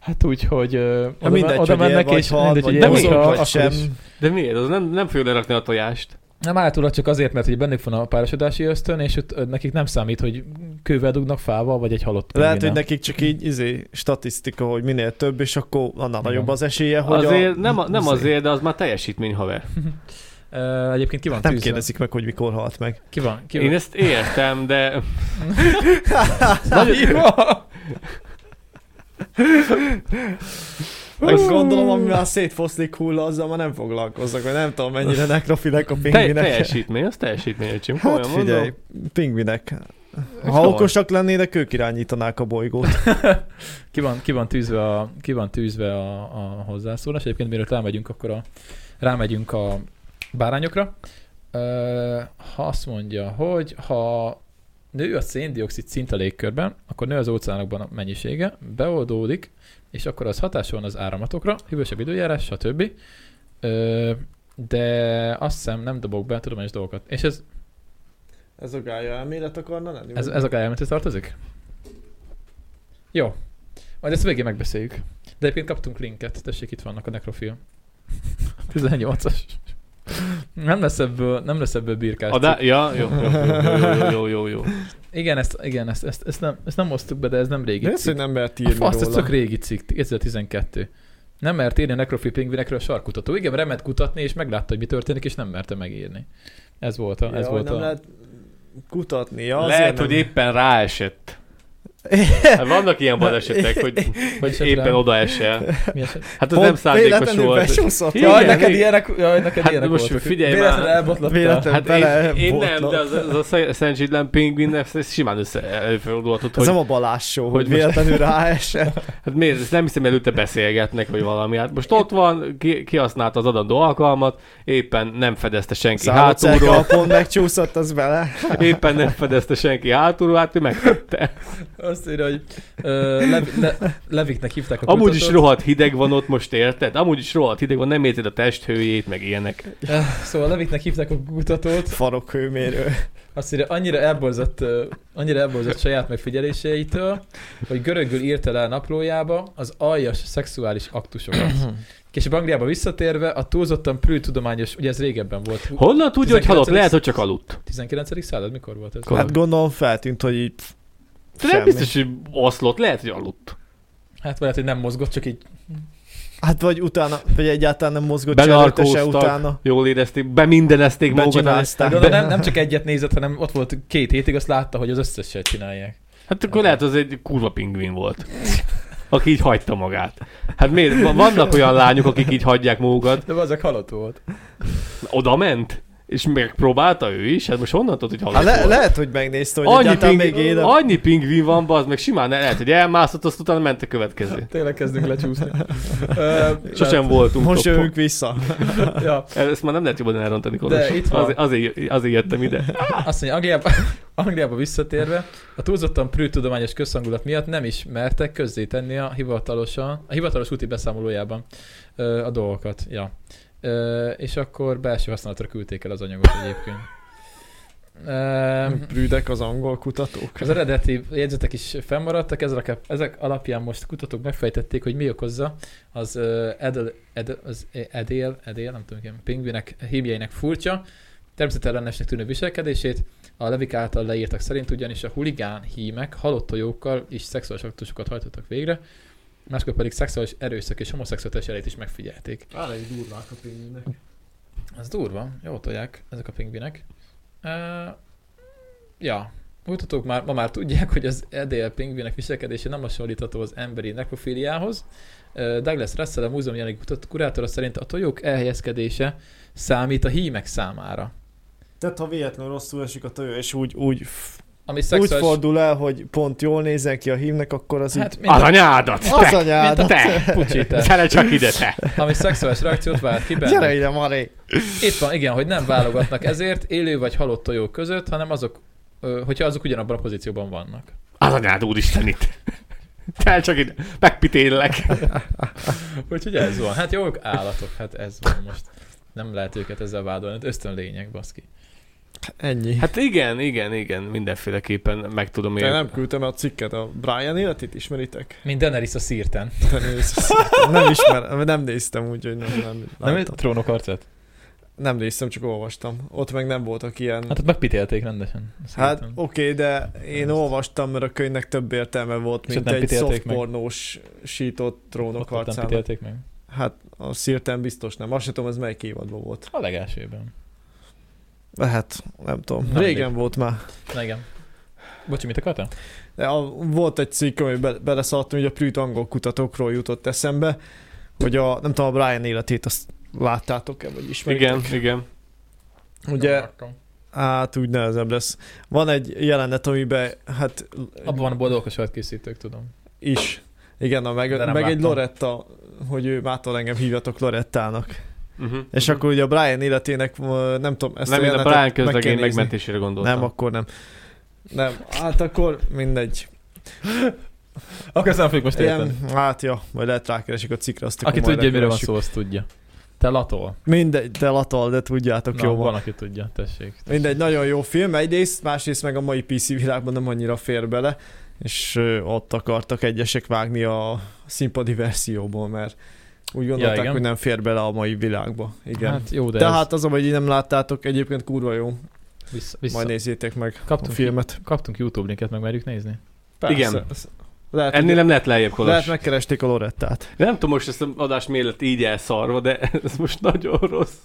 Hát úgy, hogy ö, oda, mindegy, men- oda hogy él mennek, vagy és hal, mindegy, hogy vagy él mozog, hal, vagy akkor sem. is. De miért? Az nem, nem fő lerakni a tojást. Nem állítólag csak azért, mert hogy bennük van a párosodási ösztön, és ott ö, nekik nem számít, hogy kővel dugnak fával, vagy egy halott Lehet, hogy pingvinnel. nekik csak így izé, statisztika, hogy minél több, és akkor annál Igen. nagyobb az esélye, hogy Azért, a... nem, a- nem izé- azért, de az már teljesítmény, haver. Ö, egyébként ki van Hát Nem tűzve? kérdezik meg, hogy mikor halt meg. Ki van? Ki van? Én ezt értem, de... Nagyon... Meg gondolom, ami már szétfoszlik hulla, azzal már nem foglalkoznak, vagy nem tudom mennyire nekrofilek a Te, pingvinek. teljesítmény, az teljesítmény, öcsém. Hát komolyan mondom. figyelj, pingvinek. Ha Szóval. okosak lennének, ők irányítanák a bolygót. Ki van, ki van tűzve, a, ki van tűzve a, a hozzászólás. Egyébként mielőtt rámegyünk, akkor a, rámegyünk a bárányokra. Ö, ha azt mondja, hogy ha nő a széndiokszid szint a légkörben, akkor nő az óceánokban a mennyisége, beoldódik, és akkor az hatása van az áramatokra, hűvösebb időjárás, stb. Ö, de azt hiszem nem dobok be tudományos dolgokat. És ez, Ez a gálya elmélet akarna lenni? ez, ez a gályelmethez tartozik? Jó. Majd ezt végén megbeszéljük. De egyébként kaptunk linket, tessék, itt vannak a nekrofil. 18-as. Nem lesz ebből, nem lesz ebből birkás. Adá- cikk. ja, jó, jó, jó, jó, jó, jó, jó. Igen, ezt, igen ezt, ezt, ezt, nem, ezt nem osztuk be, de ez nem régi De ezt, hogy nem mert írni a fasz, ez róla. csak régi cikk, 2012. Nem mert írni a nekrofil pingvinekről a sarkutató. Igen, remet kutatni, és meglátta, hogy mi történik, és nem merte megírni. Ez volt a... Ez Ja, volt nem a... lehet kutatni. Ja, azért Lehet, nem. hogy éppen ráesett. Hát vannak ilyen balesetek, hogy, Hogy esett éppen rá? odaesel. Mi eset? Hát ez nem szándékos véletlenül volt. besúszott. Igen, Jaj, neked igen. ilyenek, jaj, neked Hát ilyenek most voltak. figyelj már. Véletlenül elbotlottál. Véletlenül. Hát Bele én, én nem, botlott. de az, az a Szent Zsidlen pingvin, ez ez simán össze előfordulhatott, Ez hogy nem a Balázs show, hogy, hogy most- véletlenül ráesett. hát miért, ezt nem hiszem, előtte beszélgetnek, vagy valami. Hát most ott van, ki, kihasználta az adandó alkalmat, éppen nem fedezte senki Szállócerke a hátulról, pont megcsúszott, az bele. éppen nem fedezte senki hátulról, hát ő megtette. Azt írja, hogy ö, Lev- Le- Leviknek hívták a Amúgy is kutatót. rohadt hideg van ott, most érted? Amúgy is rohadt hideg van, nem érzed a testhőjét, meg ilyenek. Eh, Szóval Leviknek hívták a kutatót. Farokhőmérő. Azt írja, annyira elborzott, ö, annyira elborzott saját megfigyeléseitől, hogy görögül írta le a naplójába az aljas szexuális aktusokat. Később Angliába visszatérve a túlzottan prű tudományos, ugye ez régebben volt. Honnan tudja, hogy halott? 19. Lehet, hogy csak aludt. 19. század mikor volt ez? Hát gondolom feltűnt, hogy így... pff, De nem semmi. biztos, hogy oszlott, lehet, hogy aludt. Hát lehet, hogy nem mozgott, csak így Hát vagy utána, vagy egyáltalán nem mozgott cserélete se Benarkóztak, utána. jól érezték, bemindenezték magukat. Becsinázták. gondolom, nem, nem csak egyet nézett, hanem ott volt két hétig, azt látta, hogy az összeset csinálják. Hát akkor lehet, az egy kurva pingvin volt. Aki így hagyta magát. Hát miért? Va- Vannak olyan lányok, akik így hagyják magukat. De azok halott volt. Oda ment? És megpróbálta ő is? Hát most honnan tudod, hogy Hát halott le- volt? lehet, hogy megnézte, hogy annyi, egyáltalán még pingvin, él. annyi pingvin van, az meg simán lehet, hogy elmászott, azt utána ment a következő. Tényleg kezdünk lecsúszni. Ö, Sosem tehát- voltunk. Most toppon. jövünk vissza. ja. Ezt már nem lehet jobban elrontani, Kolos. De itt van. Azért, azért, azért jöttem ide. Azt mondja, Angliába, Angliába visszatérve, a túlzottan prűtudományos közhangulat miatt nem is mertek közzétenni a hivatalosan, a hivatalos úti beszámolójában ö, a dolgokat. Ja. Ö, és akkor belső használatra küldték el az anyagot egyébként. Ö, Brüdek az angol kutatók. az eredeti jegyzetek is fennmaradtak, ezek, ezek alapján most kutatók megfejtették, hogy mi okozza az ö, edel, edel, az edél, edél, nem tudom, igen, pingvinek, hímjeinek furcsa, természetellenesnek tűnő viselkedését. A Levik által leírtak szerint ugyanis a huligán hímek halott tojókkal is szexuális aktusokat hajtottak végre, máskor pedig szexuális erőszak és homoszexuális elét is megfigyelték. Elég durvák a pénznek. Ez durva, jó tolják ezek a pingvinek. Uh, ja, kutatók már, ma már tudják, hogy az edél pingvinek viselkedése nem hasonlítható az emberi nekrofiliához. Uh, Douglas Russell, a múzeum jelenlegi kutató kurátora szerint a tojók elhelyezkedése számít a hímek számára. Tehát ha véletlenül rosszul esik a tojó, és úgy, úgy, Ami úgy szexuális... fordul el, hogy pont jól nézzen ki a hímnek, akkor az Hát így... mind a- Az anyádat, te! Az anyádat! Mint a te! Pucsi, te. Gyere csak ide, te! Ami szexuális reakciót vált ki bennük. hát- Gyere ide, Mari! Itt van, igen, hogy nem válogatnak ezért élő vagy halott tojók között, hanem azok, ö, hogyha azok ugyanabban a pozícióban vannak. Az anyád úristen itt. Gyere csak ide, megpitélek. Úgyhogy ez van. Hát jók állatok, hát ez van most. Nem lehet őket ezzel vádolni, hát ösztön lények, baszki. Ennyi. Hát igen, igen, igen, mindenféleképpen meg tudom Én én. nem küldtem el a cikket, a Brian életét ismeritek? Mint Daenerys a szírten. Daenerys a szírten. Nem ismerem, nem néztem úgy, hogy nem, nem Nem egy láttam. trónok arcát? Nem néztem, csak olvastam. Ott meg nem voltak ilyen... Hát ott megpitélték rendesen. a szírten. Hát oké, okay, de én olvastam, mert a könyvnek több értelme volt, És ott mint nem egy pitélték meg? szoftpornós sított trónok ott, ott nem harcának. pitélték meg. Hát a szírten biztos nem. Azt sem tudom, ez melyik évadban volt. A legelsőben. Lehet, nem tudom. Nem Régen mindegy. volt már. Na igen. Bocsi, mit akartál? De a, volt egy cikk, ami be, beleszaladtam, hogy a prűt angol kutatókról jutott eszembe, hogy a, nem tudom, a Brian életét azt láttátok-e, vagy ismeritek? Igen, igen. Ugye, hát úgy nehezebb lesz. Van egy jelenet, amiben, hát Abban van a boldogok a sajtkészítők, tudom. is, igen, a meg, De meg nem egy láttam. Loretta, hogy ő mától engem hívjatok Lorettának. Uh-huh. És Mhm. akkor ugye a Brian életének, ö, nem tudom, ezt Nem, én a jelenetet Brian meg kell közlegény nézni. megmentésére gondoltam. Nem, akkor nem. Nem, hát akkor mindegy. Akkor ezt nem fogjuk most érteni. Ilyen, hát ja, majd lehet rákeresik a cikkre, azt Aki akkor majd tudja, miről van megkeressük. szó, azt tudja. Te latol. Mindegy, de latol, de tudjátok Na, jó van, van. aki tudja, tessék. Mindegy, nagyon jó film egyrészt, másrészt meg a mai PC világban nem annyira fér bele, és ö, ott akartak egyesek vágni a színpadi verzióból, mert úgy gondolták, igen. ja, hogy nem fér bele a mai világba. Igen. Hát jó, de Tehát az, hogy így nem láttátok, egyébként kurva jó. Vissza, Vissza. vissza. Majd nézzétek meg Kaptunk a filmet. Kaptunk YouTube linket, meg merjük nézni? Persze. Igen. Ez- Lehet, Hát Ennél hogy- nem lehet lejjebb, Kolos. Lehet megkeresték a Lorettát. Nem tudom, most ezt az adás mélet így elszarva, de ez most nagyon rossz.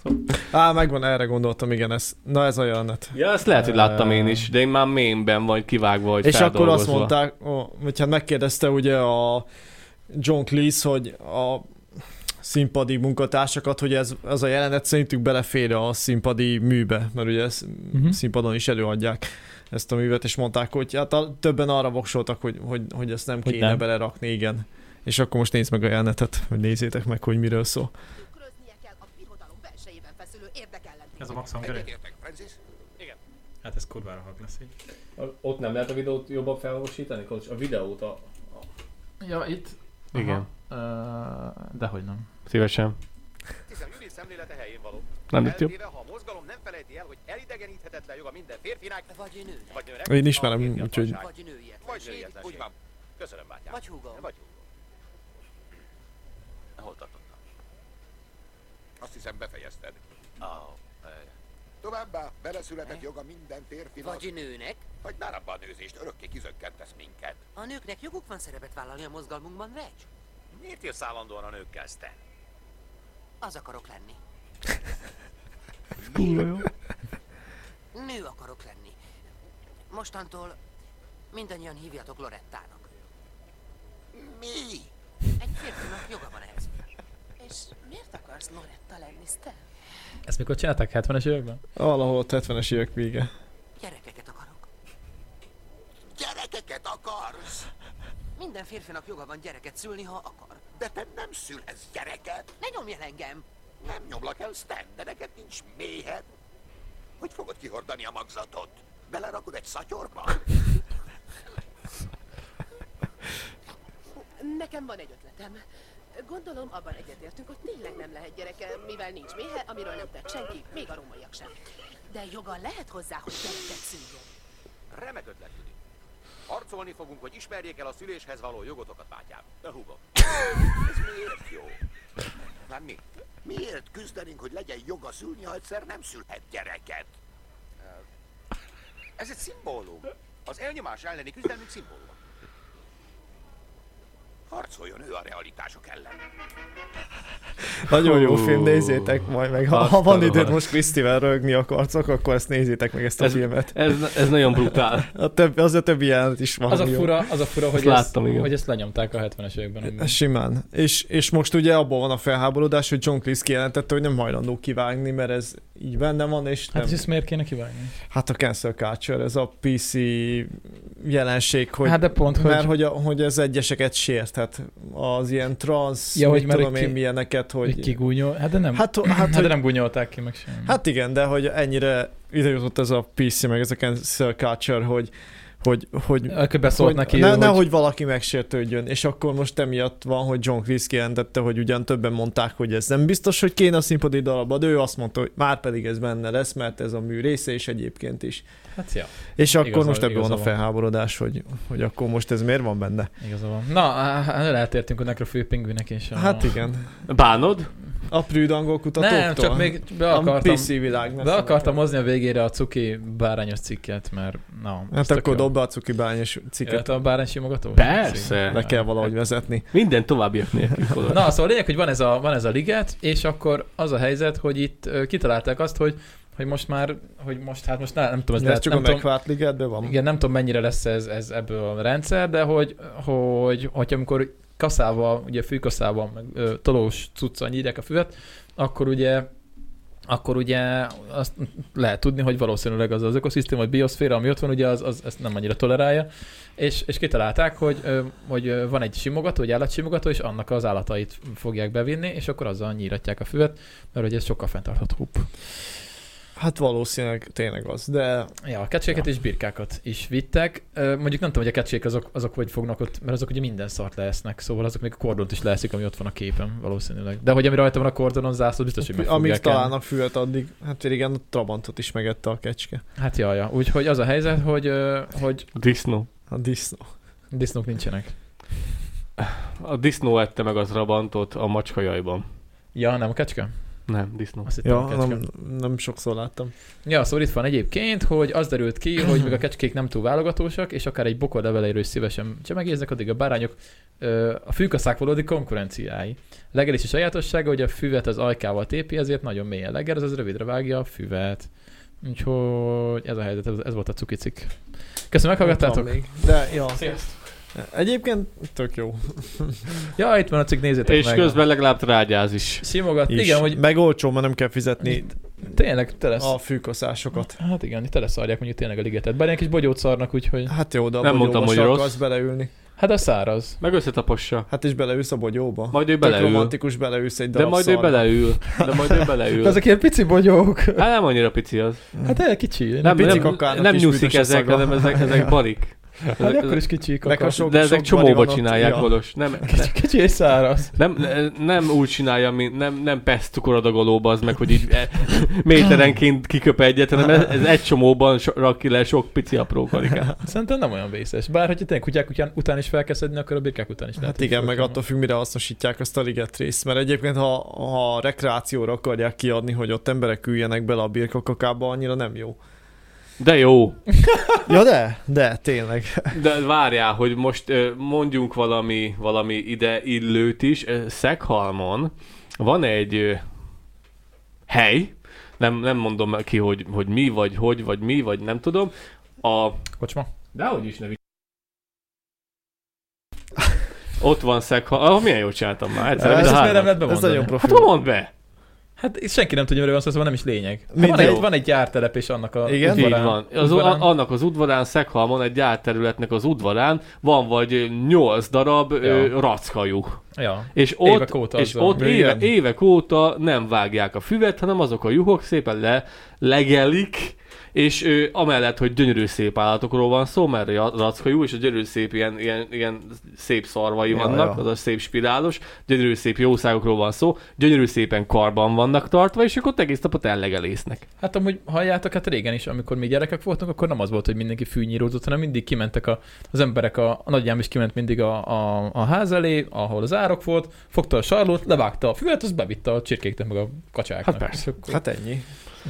Á, megvan, erre gondoltam, igen, ez. Na ez hát a jelenet. Ja, ezt lehet, hogy láttam én is, de én már mémben vagy kivágva, vagy És akkor azt feldolgozva. mondták, ó, vagy hát megkérdezte ugye a John Cleese, hogy a színpadi munkatársakat, hogy ez, ez a jelenet szerintük belefér a színpadi műbe, mert ugye ezt Mhm. uh-huh. színpadon is előadják ezt a művet, és mondták, hogy hát a, többen arra voksoltak, hogy, hogy, hogy ezt nem Hogy kéne nem. belerakni, igen. És akkor most nézd meg a jelenetet, hogy nézzétek meg, hogy miről szól. Tükröznie kell a birodalom belsejében feszülő érdekellentét. Ez a Max Hungary. Francis? Igen. Hát ez kurvára hag lesz így. Ott nem lehet a videót jobban felolvasítani, Kocs? A videót a... Ja, itt? Igen. Aha. Ö, dehogy nem. Szívesen. Hiszem Judit szemlélete helyén való. Nem lett jobb. Eltéve, ha a mozgalom nem felejti el, hogy elidegeníthetetlen joga minden hát férfinak, vagy nőnek. Vagy nőnek. Én ismerem, a férfi úgyhogy- apaság. Vagy nőietlen. Vagy nőietlen. Úgy van. Köszönöm, bátyám. Vagy húgom. Vagy húgom. Hol tartottam? Azt hiszem befejezted. Ah, Továbbá Hm? beleszületett joga minden férfinak. Vagy nőnek. Hogy már abba a nőzést örökké kizökkentesz minket. A nőknek joguk van szerepet vállalni a mozgalmunkban, Recs. Miért jössz állandóan a nőkkel, te? Az akarok lenni. Kurva jó. Nő akarok lenni. Mostantól mindannyian hívjatok Lorettának. Mi? Egy férfinak joga van ehhez. És miért akarsz Loretta lenni, Stan? Ezt mikor csinálták 70-es években? Valahol 70-es évek vége. Gyerekeket akarok. Gyerekeket akarsz? Minden férfinak joga van gyereket szülni, ha akar. De te nem szülhetsz gyereket. Ne nyomj el engem. Nem nyomlak el, Stan, de neked nincs méhed. Hogy fogod kihordani a magzatot? Belerakod egy szatyorba? Nekem van egy ötletem. Gondolom, abban egyetértünk, hogy tényleg nem lehet gyereke, mivel nincs méhe, amiről nem tett senki, még a rómaiak sem. De joga lehet hozzá, hogy gyereket szüljön. Remek ötlet, Judit. Harcolni fogunk, hogy ismerjék el a szüléshez való jogotokat, bátyám. De húgom. Hát Ez miért jó? Már mi? Miért küzdenénk, hogy legyen joga szülni, ha egyszer nem szülhet gyereket? Ez egy szimbólum. Az elnyomás elleni küzdelmünk szimbólum. Harcoljon ő a realitások ellen. Nagyon jó Hú, Hát, film, nézzétek majd meg. Ha, ha van baszta időd rohadt. most Krisztivel rögni akarszok, akkor ezt nézzétek meg ezt a Ez- filmet. ez- ez nagyon brutál. A több, az a többi jelenet is van. Az a fura, az a fura, Azt hogy, láttam, ezt, igen. hogy ezt lenyomták a 70-es években. amúgy. Simán. És, és most ugye abban van a felháborodás, hogy John Cleese kijelentette, hogy nem hajlandó kivágni, mert ez így benne van, és nem... Hát és ezt miért kéne kivágni? Hát a cancel culture, ez a PC jelenség, hogy, Hát de pont, hogy- mert hogy, a, hogy ez egyeseket sérthet. Az ilyen transz, Ja, ja, hogy hogy mert tudom hogy én ki- milyeneket, hogy... hogy kigúnyol. Hát de nem. Hát, hát, Hát, hogy, de nem gúnyolták ki meg sem. hát igen, de hogy ennyire ide jutott ez a PC, meg ez a cancel culture, hogy hogy, hogy, Akkor beszólt hogy neki, ne, hogy- hogy... nehogy valaki megsértődjön, és akkor most emiatt van, hogy John Cleese kijelentette, hogy ugyan többen mondták, hogy ez nem biztos, hogy kéne a színpadi darabba, de ő azt mondta, hogy már pedig ez benne lesz, mert ez a mű része, és egyébként is. Hát ja. És akkor Igaza- most ebből van igaza a felháborodás, hogy, hogy akkor most ez miért van benne? Igaza van. Na, hát eltértünk a nekrofil pingvinek és a... Hát igen. Bánod? A prűd angol kutatóktól? Nem, csak még be A akartam, PC világ. ne be szólok. akartam hozni a végére a cuki bárányos cikket, mert na, Hát akkor dob be a cuki bányos cikket. Illetve a bárány simogató? Persze. Le kell valahogy vezetni. Minden továbbiak nélkül. Kolos. Na, szóval a lényeg, hogy van ez a, van ez a liget, és akkor az a helyzet, hogy itt ö, kitalálták azt, hogy hogy most már, hogy most, hát most ne, nem tudom, ez, De ez lehet, csak a nem tudom, megvárt ligádban van? Igen, nem tudom mennyire lesz ez, ez ebből a rendszer, de hogy, hogy, hogy amikor kaszával, ugye fűkaszával, meg ö, tolós cuccal nyírják a füvet, akkor ugye akkor ugye azt lehet tudni, hogy valószínűleg az az ökoszisztéma, vagy bioszféra, ami ott van, ugye az, az ezt nem annyira tolerálja, és, és kitalálták, hogy, ö, hogy ö, van egy simogató, egy állatsimogató, és annak az állatait fogják bevinni, és akkor azzal nyíratják a füvet, mert hogy ez sokkal fenntarthatóbb. Hát valószínűleg tényleg az, de... Ja, a kecséket és birkákat is vittek. Ö, Mondjuk nem tudom, hogy a kecsék azok, azok hogy fognak ott, mert azok ugye minden szart leesznek, szóval azok még a kordont is leeszik, ami ott van a képen valószínűleg. De hogy ami rajta van a kordonon zászló, biztos, hogy meg Amíg fogják el. találnak füvet addig, hát igen, a Trabantot is megette a kecske. Hát jaja, ja. úgyhogy az a helyzet, hogy, ö, hogy A disznó. A disznó. disznók nincsenek. A disznó ette meg az rabantot a macska jajban. Ja, nem a kecske? Nem, disznó. Azt hittem a Ja, kecske. nem, nem sokszor láttam. Ja, szóval itt van egyébként, hogy az derült ki, hogy még a kecskék nem túl válogatósak, és akár egy bokor leveleiről is szívesen csemegéznek, addig a bárányok ö, a fűkaszák valódi konkurenciái. Legelési sajátossága, hogy a füvet az ajkával tépi, ezért nagyon mélyen legel, az rövidre vágja a füvet. Úgyhogy ez a helyzet, ez, ez volt a cukicik. Köszönöm, meghallgattátok? Ott van még. De, ja. Sziasztok. Hát Egyébként tök jó. Ja, itt van a cikk, nézzétek És meg. közben legalább trágyáz is. Simogat, Is. igen, hogy Meg olcsó, mert nem kell fizetni tényleg tele, a fűkaszásokat. hát igen, tele szarják mondjuk tényleg a ligetet. Bár ilyen kis bogyót szarnak, úgyhogy... Hát jó, de Nem abban mondtam, jobban hogy se rossz. akarsz beleülni. Hát a száraz. Meg összetapossa. Hát és beleülsz a bogyóba. Majd ő Tök beleül. romantikus beleülsz egy De darab majd ő szarra. beleül. De majd ő beleül. De ezek ilyen pici bogyók. Hát Hát nem annyira pici az. el Hát, eh, kicsi. Nem, pici nem, kakának nem is nyúszik büdös a ezek, szaga. hanem ezek, ezek barik. Hát Ezek- akkor is kicsi kaka. Meg a sok- de ezek sok bari csomóba van ott, csinálják, ja. Golos. Nem, ne- Kicsi és száraz. nem, ne- nem úgy csinálja, mint nem, nem peszt cukoradagolóba az meg, hogy így e, méterenként kiköp egyet, hanem ez, ez egy csomóban so, rak ki le sok pici apró karikát. Szerintem nem olyan vészes. Bár, hogyha tényleg kutyák után, után is felkezdeni, akkor a békák után is lehet. Hát igen, meg attól függ, mire hasznosítják azt a liget részt. Mert egyébként, ha, ha rekreációra akarják kiadni, hogy ott emberek üljenek bele a birka kakába, annyira nem jó. De jó. Ja de, de, tényleg. De várjál, hogy most ö, mondjunk valami, valami ide illőt is. Ö, Szeghalmon van egy ö, hely, nem, nem mondom ki, hogy, hogy mi, vagy hogy, vagy mi, vagy nem tudom. A... Kocsma? Dehogy is ne vicc- Ott van Szeghalmon. Ah, milyen jól csináltam már. Egyszer, Ez, mind ez a miért hármat. nem lehet bemondani? nagyon profi. Hát mondd be! Hát itt senki nem tudja, miről van szó, szóval nem is lényeg. Hát Mind van, jó. egy, van egy gyártelep, és annak a Igen? Így udvarán- van. Az, udvarán- a, annak az udvarán, Szeghalmon, egy gyárterületnek az udvarán van vagy 8 darab ja. ö, rackhajuk. Ja. És ott, Évek óta és azzal. ott éve, Igen. évek óta nem vágják a füvet, hanem azok a juhok szépen le, legelik, és ö, amellett, hogy gyönyörű szép állatokról van szó, mert a racka jó, és a gyönyörű szép ilyen, ilyen, ilyen szép szarvai Ja, vannak, ja. az a szép spirálos, gyönyörű szép jószágokról van szó, gyönyörű szépen karban vannak tartva, és akkor ott egész napot ellegelésznek. Hát amúgy halljátok, hát régen is, amikor mi gyerekek voltunk, akkor nem az volt, hogy mindenki fűnyírózott, hanem mindig kimentek a, az emberek, a, a nagyjám is kiment mindig a, a, a ház elé, ahol az árok volt, fogta a sarlót, levágta a füvet, azt bevitte a csirkéknek meg a kacsáknak. Hát persze. És akkor Hát ennyi.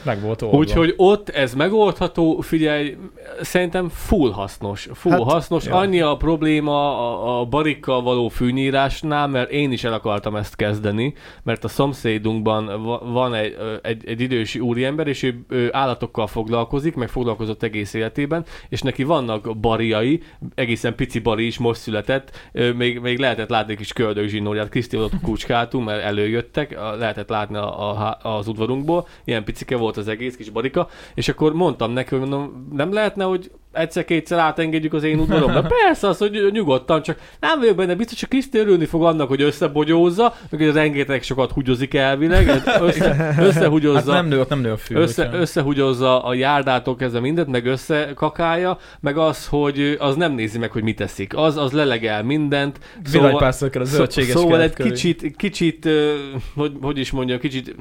Meg volt oldva. Úgyhogy ott ez megoldható, figyelj, szerintem full hasznos. Full Hát, hát, hasznos. ja. Ja. Annyi a probléma a, a barikkal való fűnyírásnál, mert én is el akartam ezt kezdeni, mert a szomszédunkban va- van egy, ö, egy, egy idősi úriember, és ő, ő állatokkal foglalkozik, meg foglalkozott egész életében, és neki vannak bariai, egészen pici bari is most született, ö, még, még lehetett látni egy kis köldök zsinórját, Kriszti ott kucskátunk, mert előjöttek, a- lehetett látni a, a, há- az udvarunkból, ilyen picike volt az egész kis barika, és akkor mondtam neki, hogy mondom, nem lehetne, hogy egyszer-kétszer átengedjük az én udvaromba. Persze, az, hogy nyugodtan, csak nem vagyok benne biztos, hogy Kriszti örülni fog annak, hogy összebogyózza, meg hogy rengeteg sokat húgyozik elvileg, össze, összehugyozza. Hát nem nő, ott nem nő a fű. Össze, úgyhogy- összehugyozza a járdától kezdve mindent, meg összekakálja, meg az, hogy ö, az nem nézi meg, hogy mit eszik. Az, az lelegel mindent. Szóval- Villanypásztor kell a zöldséges szó- Szóval kert egy köré. kicsit, kicsit ö, hogy, hogy is mondjam, kicsit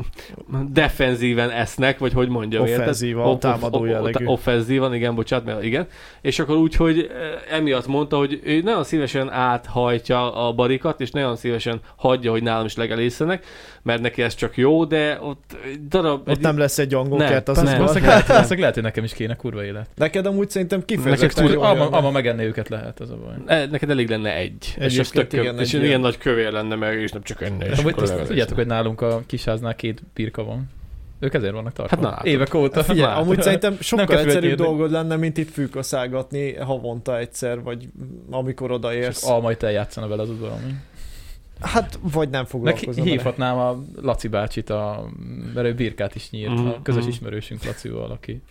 defenzíven esznek, vagy hogy mondjam. érted? Offenzívan, támadó jellegű. Offenzívan, igen, bocsánat, mert igen. És akkor úgy, hogy ö, emiatt mondta, hogy ő nagyon szívesen áthajtja a barikat, és nagyon szívesen hagyja, hogy nálam is legelészenek, mert neki ez csak jó, de ott egy darab... Ott nem lesz egy angol kert, az Persze, nem. valószínűleg lehet, valószínűleg lehet, hogy nekem is kéne kurva élet. Neked amúgy szerintem Neked kifejezetten kurva, jól ama, jönne. ama megenni őket lehet, az a baj. E, neked elég lenne egy. és az Egyébként tök igen, igen, és egy ilyen ilyen. nagy kövér lenne meg, és nem csak enne. És Amúgy akkor azt legalább tudjátok, lesz. hogy nálunk a kisháznál két birka van. Ők ezért vannak tartva. Hát na, látod. Évek óta. Figyelj, Látod. amúgy szerintem kell sokkal füvet egyszerűbb írni. dolgod lenne, mint itt fűkaszágatni havonta egyszer, vagy amikor És odaérsz. akkor almait eljátszana vele az udvaron. Hát, vagy nem Meg foglalkozom vele. hívhatnám a Laci bácsit, a, mert ő birkát is nyírt, Mhm, a közös mhm. ismerősünk Lacival, aki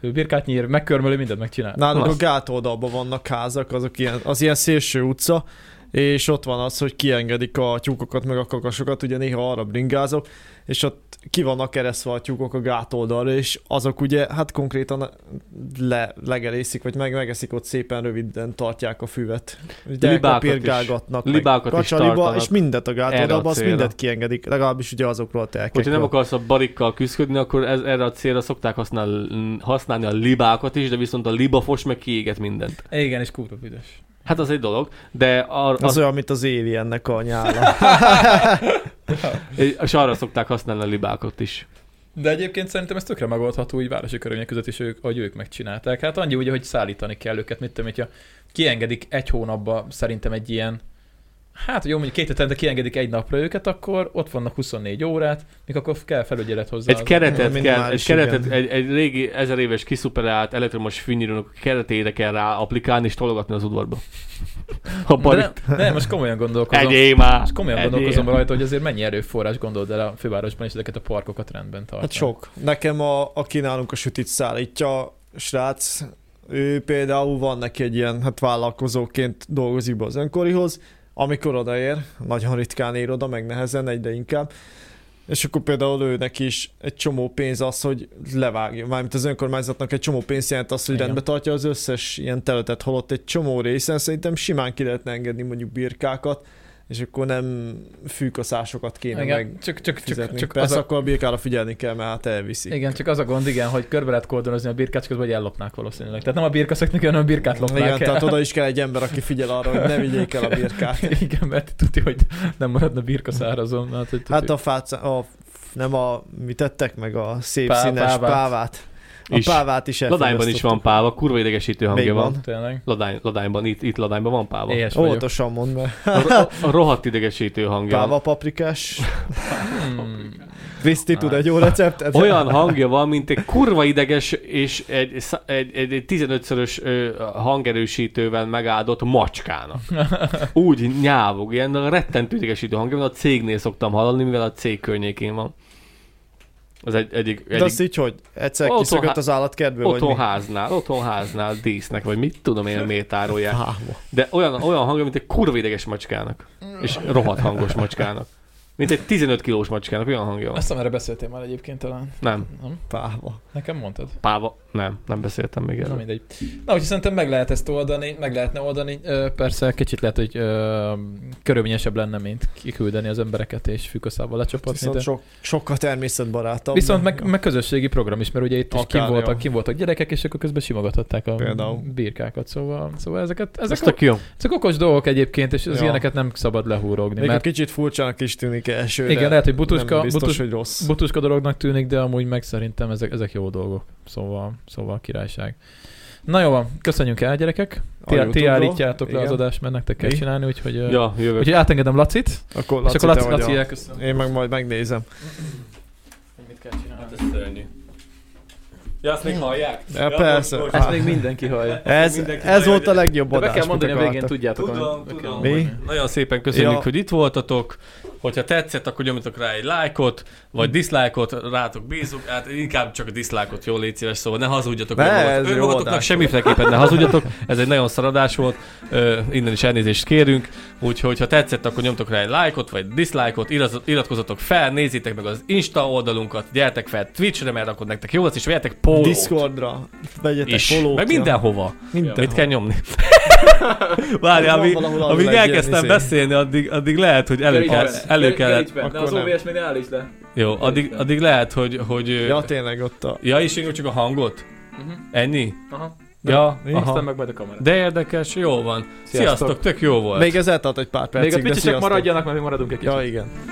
ő birkát nyír, megkörmölő, mindent megcsinál. Nálunk a Klassz. gátoldalban vannak házak, azok ilyen, az ilyen szélső utca, és ott van az, hogy kiengedik a tyúkokat, meg a kakasokat, ugye néha arra bringázok, és ott ki vannak keresztve a tyúkok a gátoldalra, és azok ugye hát konkrétan le, legelészik, vagy meg megeszik, ott szépen röviden tartják a füvet. Ugye Libákat is. kapirgálgatnak meg Libákat is kacsaliba, tartanak és mindet a erre a gátoldalba, azt célra. mindet kiengedik, legalábbis ugye azokról a telkekről. Hogyha nem akarsz a barikkal küzdködni, akkor ez, erre a célra szokták használni, használni a libákat is, de viszont a libafos meg kiéget mindent. Igen, és kurva büdös. Hát az egy dolog, de ar, Az az, olyan, mint az Aliennek a nyála. és arra szokták használni a libákat is. De egyébként szerintem ez tökre megoldható így városi körülmények között is, ők, hogy ők megcsinálták. Hát annyi ugye, hogy szállítani kell őket, mit tudom, hogyha kiengedik egy hónapba szerintem egy ilyen, hát jó, mondjuk két hetente kiengedik egy napra őket, akkor ott vannak 24 órát, még akkor kell felügyelet hozzá. Egy keretet kell, egy, Minimális, keretet, igen. egy, egy régi ezer éves kiszuperált elektromos fűnyírónak keretére kell rá applikálni és tologatni az udvarba. A De barit. nem, nem, most komolyan gondolkozom. Egyél már! Most komolyan Egyél. gondolkozom rajta, hogy azért mennyi erőforrás gondold el a fővárosban, és ezeket a parkokat rendben tartani. Hát sok. Nekem, a, aki nálunk a sütit szállítja, srác, ő például van neki egy ilyen, hát vállalkozóként dolgozik be az önkorihoz, amikor odaér, nagyon ritkán ér oda, meg nehezen, egyre inkább, és akkor például őnek is egy csomó pénz az, hogy levágja. Mármint az önkormányzatnak egy csomó pénz jelent az, hogy Igen. rendbe tartja az összes ilyen területet, holott egy csomó részen szerintem simán ki lehetne engedni mondjuk birkákat, és akkor nem fűkaszásokat kéne Igen, meg csak- csak- csak- fizetnünk. csak az Persze a- akkor a birkára figyelni kell, mert hát elviszik. Igen, csak az a gond, igen, hogy körbe lehet kordonozni a birkát, csak közben, hogy ellopnák valószínűleg. Tehát nem a birka szökni, hanem a birkát lopnák Igen, el. tehát oda is kell egy ember, aki figyel arra, hogy ne vigyék el a birkát. Igen, mert tudja, hogy nem maradna birka szárazon. Hát, hogy Hát a fáca, a, nem a, mit tettek meg a szép Pá- színes pávát. pávát. A Is. pávát is Ladányban is van páva, kurva idegesítő hangja Még van, van. tényleg. Ladány, ladányban, itt, itt ladányban van páva. Éhes vagyok. Óvatosan mondd be. A, ro- a rohadt idegesítő hangja. van. Páva paprikás. Kriszti tud egy jó receptet? Olyan hangja van, mint egy kurva ideges és egy, szá- egy, egy, egy 15-szörös ö, hangerősítővel megáldott macskának. Úgy nyávog, ilyen rettentő idegesítő hangja van, a cégnél szoktam hallani, mivel a cég környékén van. Az egy, egyik, De azt egyik így, hogy egyszer Otthon kiszökött há- az állatkertből, vagy mi? Otthonháznál, otthonháznál dísznek, vagy mit tudom én, miért tárolják. De olyan, olyan hangja, mint egy kurva ideges macskának. És rohadt hangos macskának. Mint egy 15 kilós macskának, olyan hangja van. Azt hiszem, erre beszéltél már egyébként talán. Nem. Nem? Páva. Nekem mondtad? Páva. Nem, nem beszéltem még Na erről. mindegy. Na, úgyhogy szerintem meg lehet ezt oldani, meg lehetne oldani. Ö, persze kicsit lehet, hogy ö, körülményesebb lenne, mint kiküldeni az embereket és fűkaszával lecsapatni. Viszont de- sok, sokkal természetbarátabb. Viszont meg, meg, közösségi program is, mert ugye itt is Akár kim voltak, jó. kim voltak gyerekek, és akkor közben simogathatták a Például. birkákat, szóval, szóval ezeket, ezek, Ez tök jó. ezek okos dolgok egyébként, és az Ja. ilyeneket nem szabad lehúrogni, Még mert... mert kicsit furcsának is tűnik elsőre. igen, lehet, hogy butuska, Nem biztos, butus, hogy rossz. butuska dolognak tűnik, de amúgy meg szerintem ezek, ezek jó dolgok, szóval, szóval királyság. Na jó van, köszönjünk el gyerekek, A ti, ti YouTube-ról. állítjátok le az Igen. adást, mert nektek kell Mi? csinálni, úgyhogy, ö, Ja, jövök. úgyhogy átengedem Lacit, Akkor és Laci, akkor te Laci, vagy Laci a- elköszön. Én meg majd megnézem. Mit kell csinálni? Hát ez szörnyű. Ja, azt még hallják? Ja, persze. most- Ezt még mindenki hallja. Ez, Mindenki ez hallja, volt de- a legjobb De be adás. kell mondani a amit végén, akartak. tudjátok. Tudom, amit- tudom. Mi? Nagyon szépen köszönjük, Ja. hogy itt voltatok. Hogyha tetszett, akkor nyomjatok rá egy lájkot, Hm. vagy diszlájkot, rátok bízunk, hát inkább csak a diszlájkot, jó légy szíves, szóval ne hazudjatok Ne, önmagat- ez jó önmagatoknak, adás. semmiféleképpen ne hazudjatok, ez egy nagyon szaradás volt, Ö, innen is elnézést kérünk, úgyhogy ha tetszett, akkor nyomtok rá egy lájkot, vagy diszlájkot, iratkoz- iratkozzatok fel, nézzétek meg az Insta oldalunkat, gyertek fel Twitchre, mert akkor nektek jó lesz, és vegyetek pólót Discordra, vegyetek is, polót. meg mindenhova. Mindenhol. Mit kell nyomni? Várjál, Van amíg, valahol alul amíg egy ilyen elkezdtem izé. beszélni, addig, addig lehet, hogy elő, kell, elő kellett. De az OBS még ne állítsd le. Jó, addig, addig lehet, hogy... hogy Ja, tényleg ott a... ja és én csak a hangot? Mhm. Ennyi? Aha. Ja, Mi? aha. Aztán meg majd a kamerát. De érdekes, jó van. Sziasztok, Sziasztok. Sziasztok tök jó volt. Még ez eltart egy pár percig, Még de a pici csak sziasztok. maradjanak, mert mi maradunk egy kicsit. Ja, igen.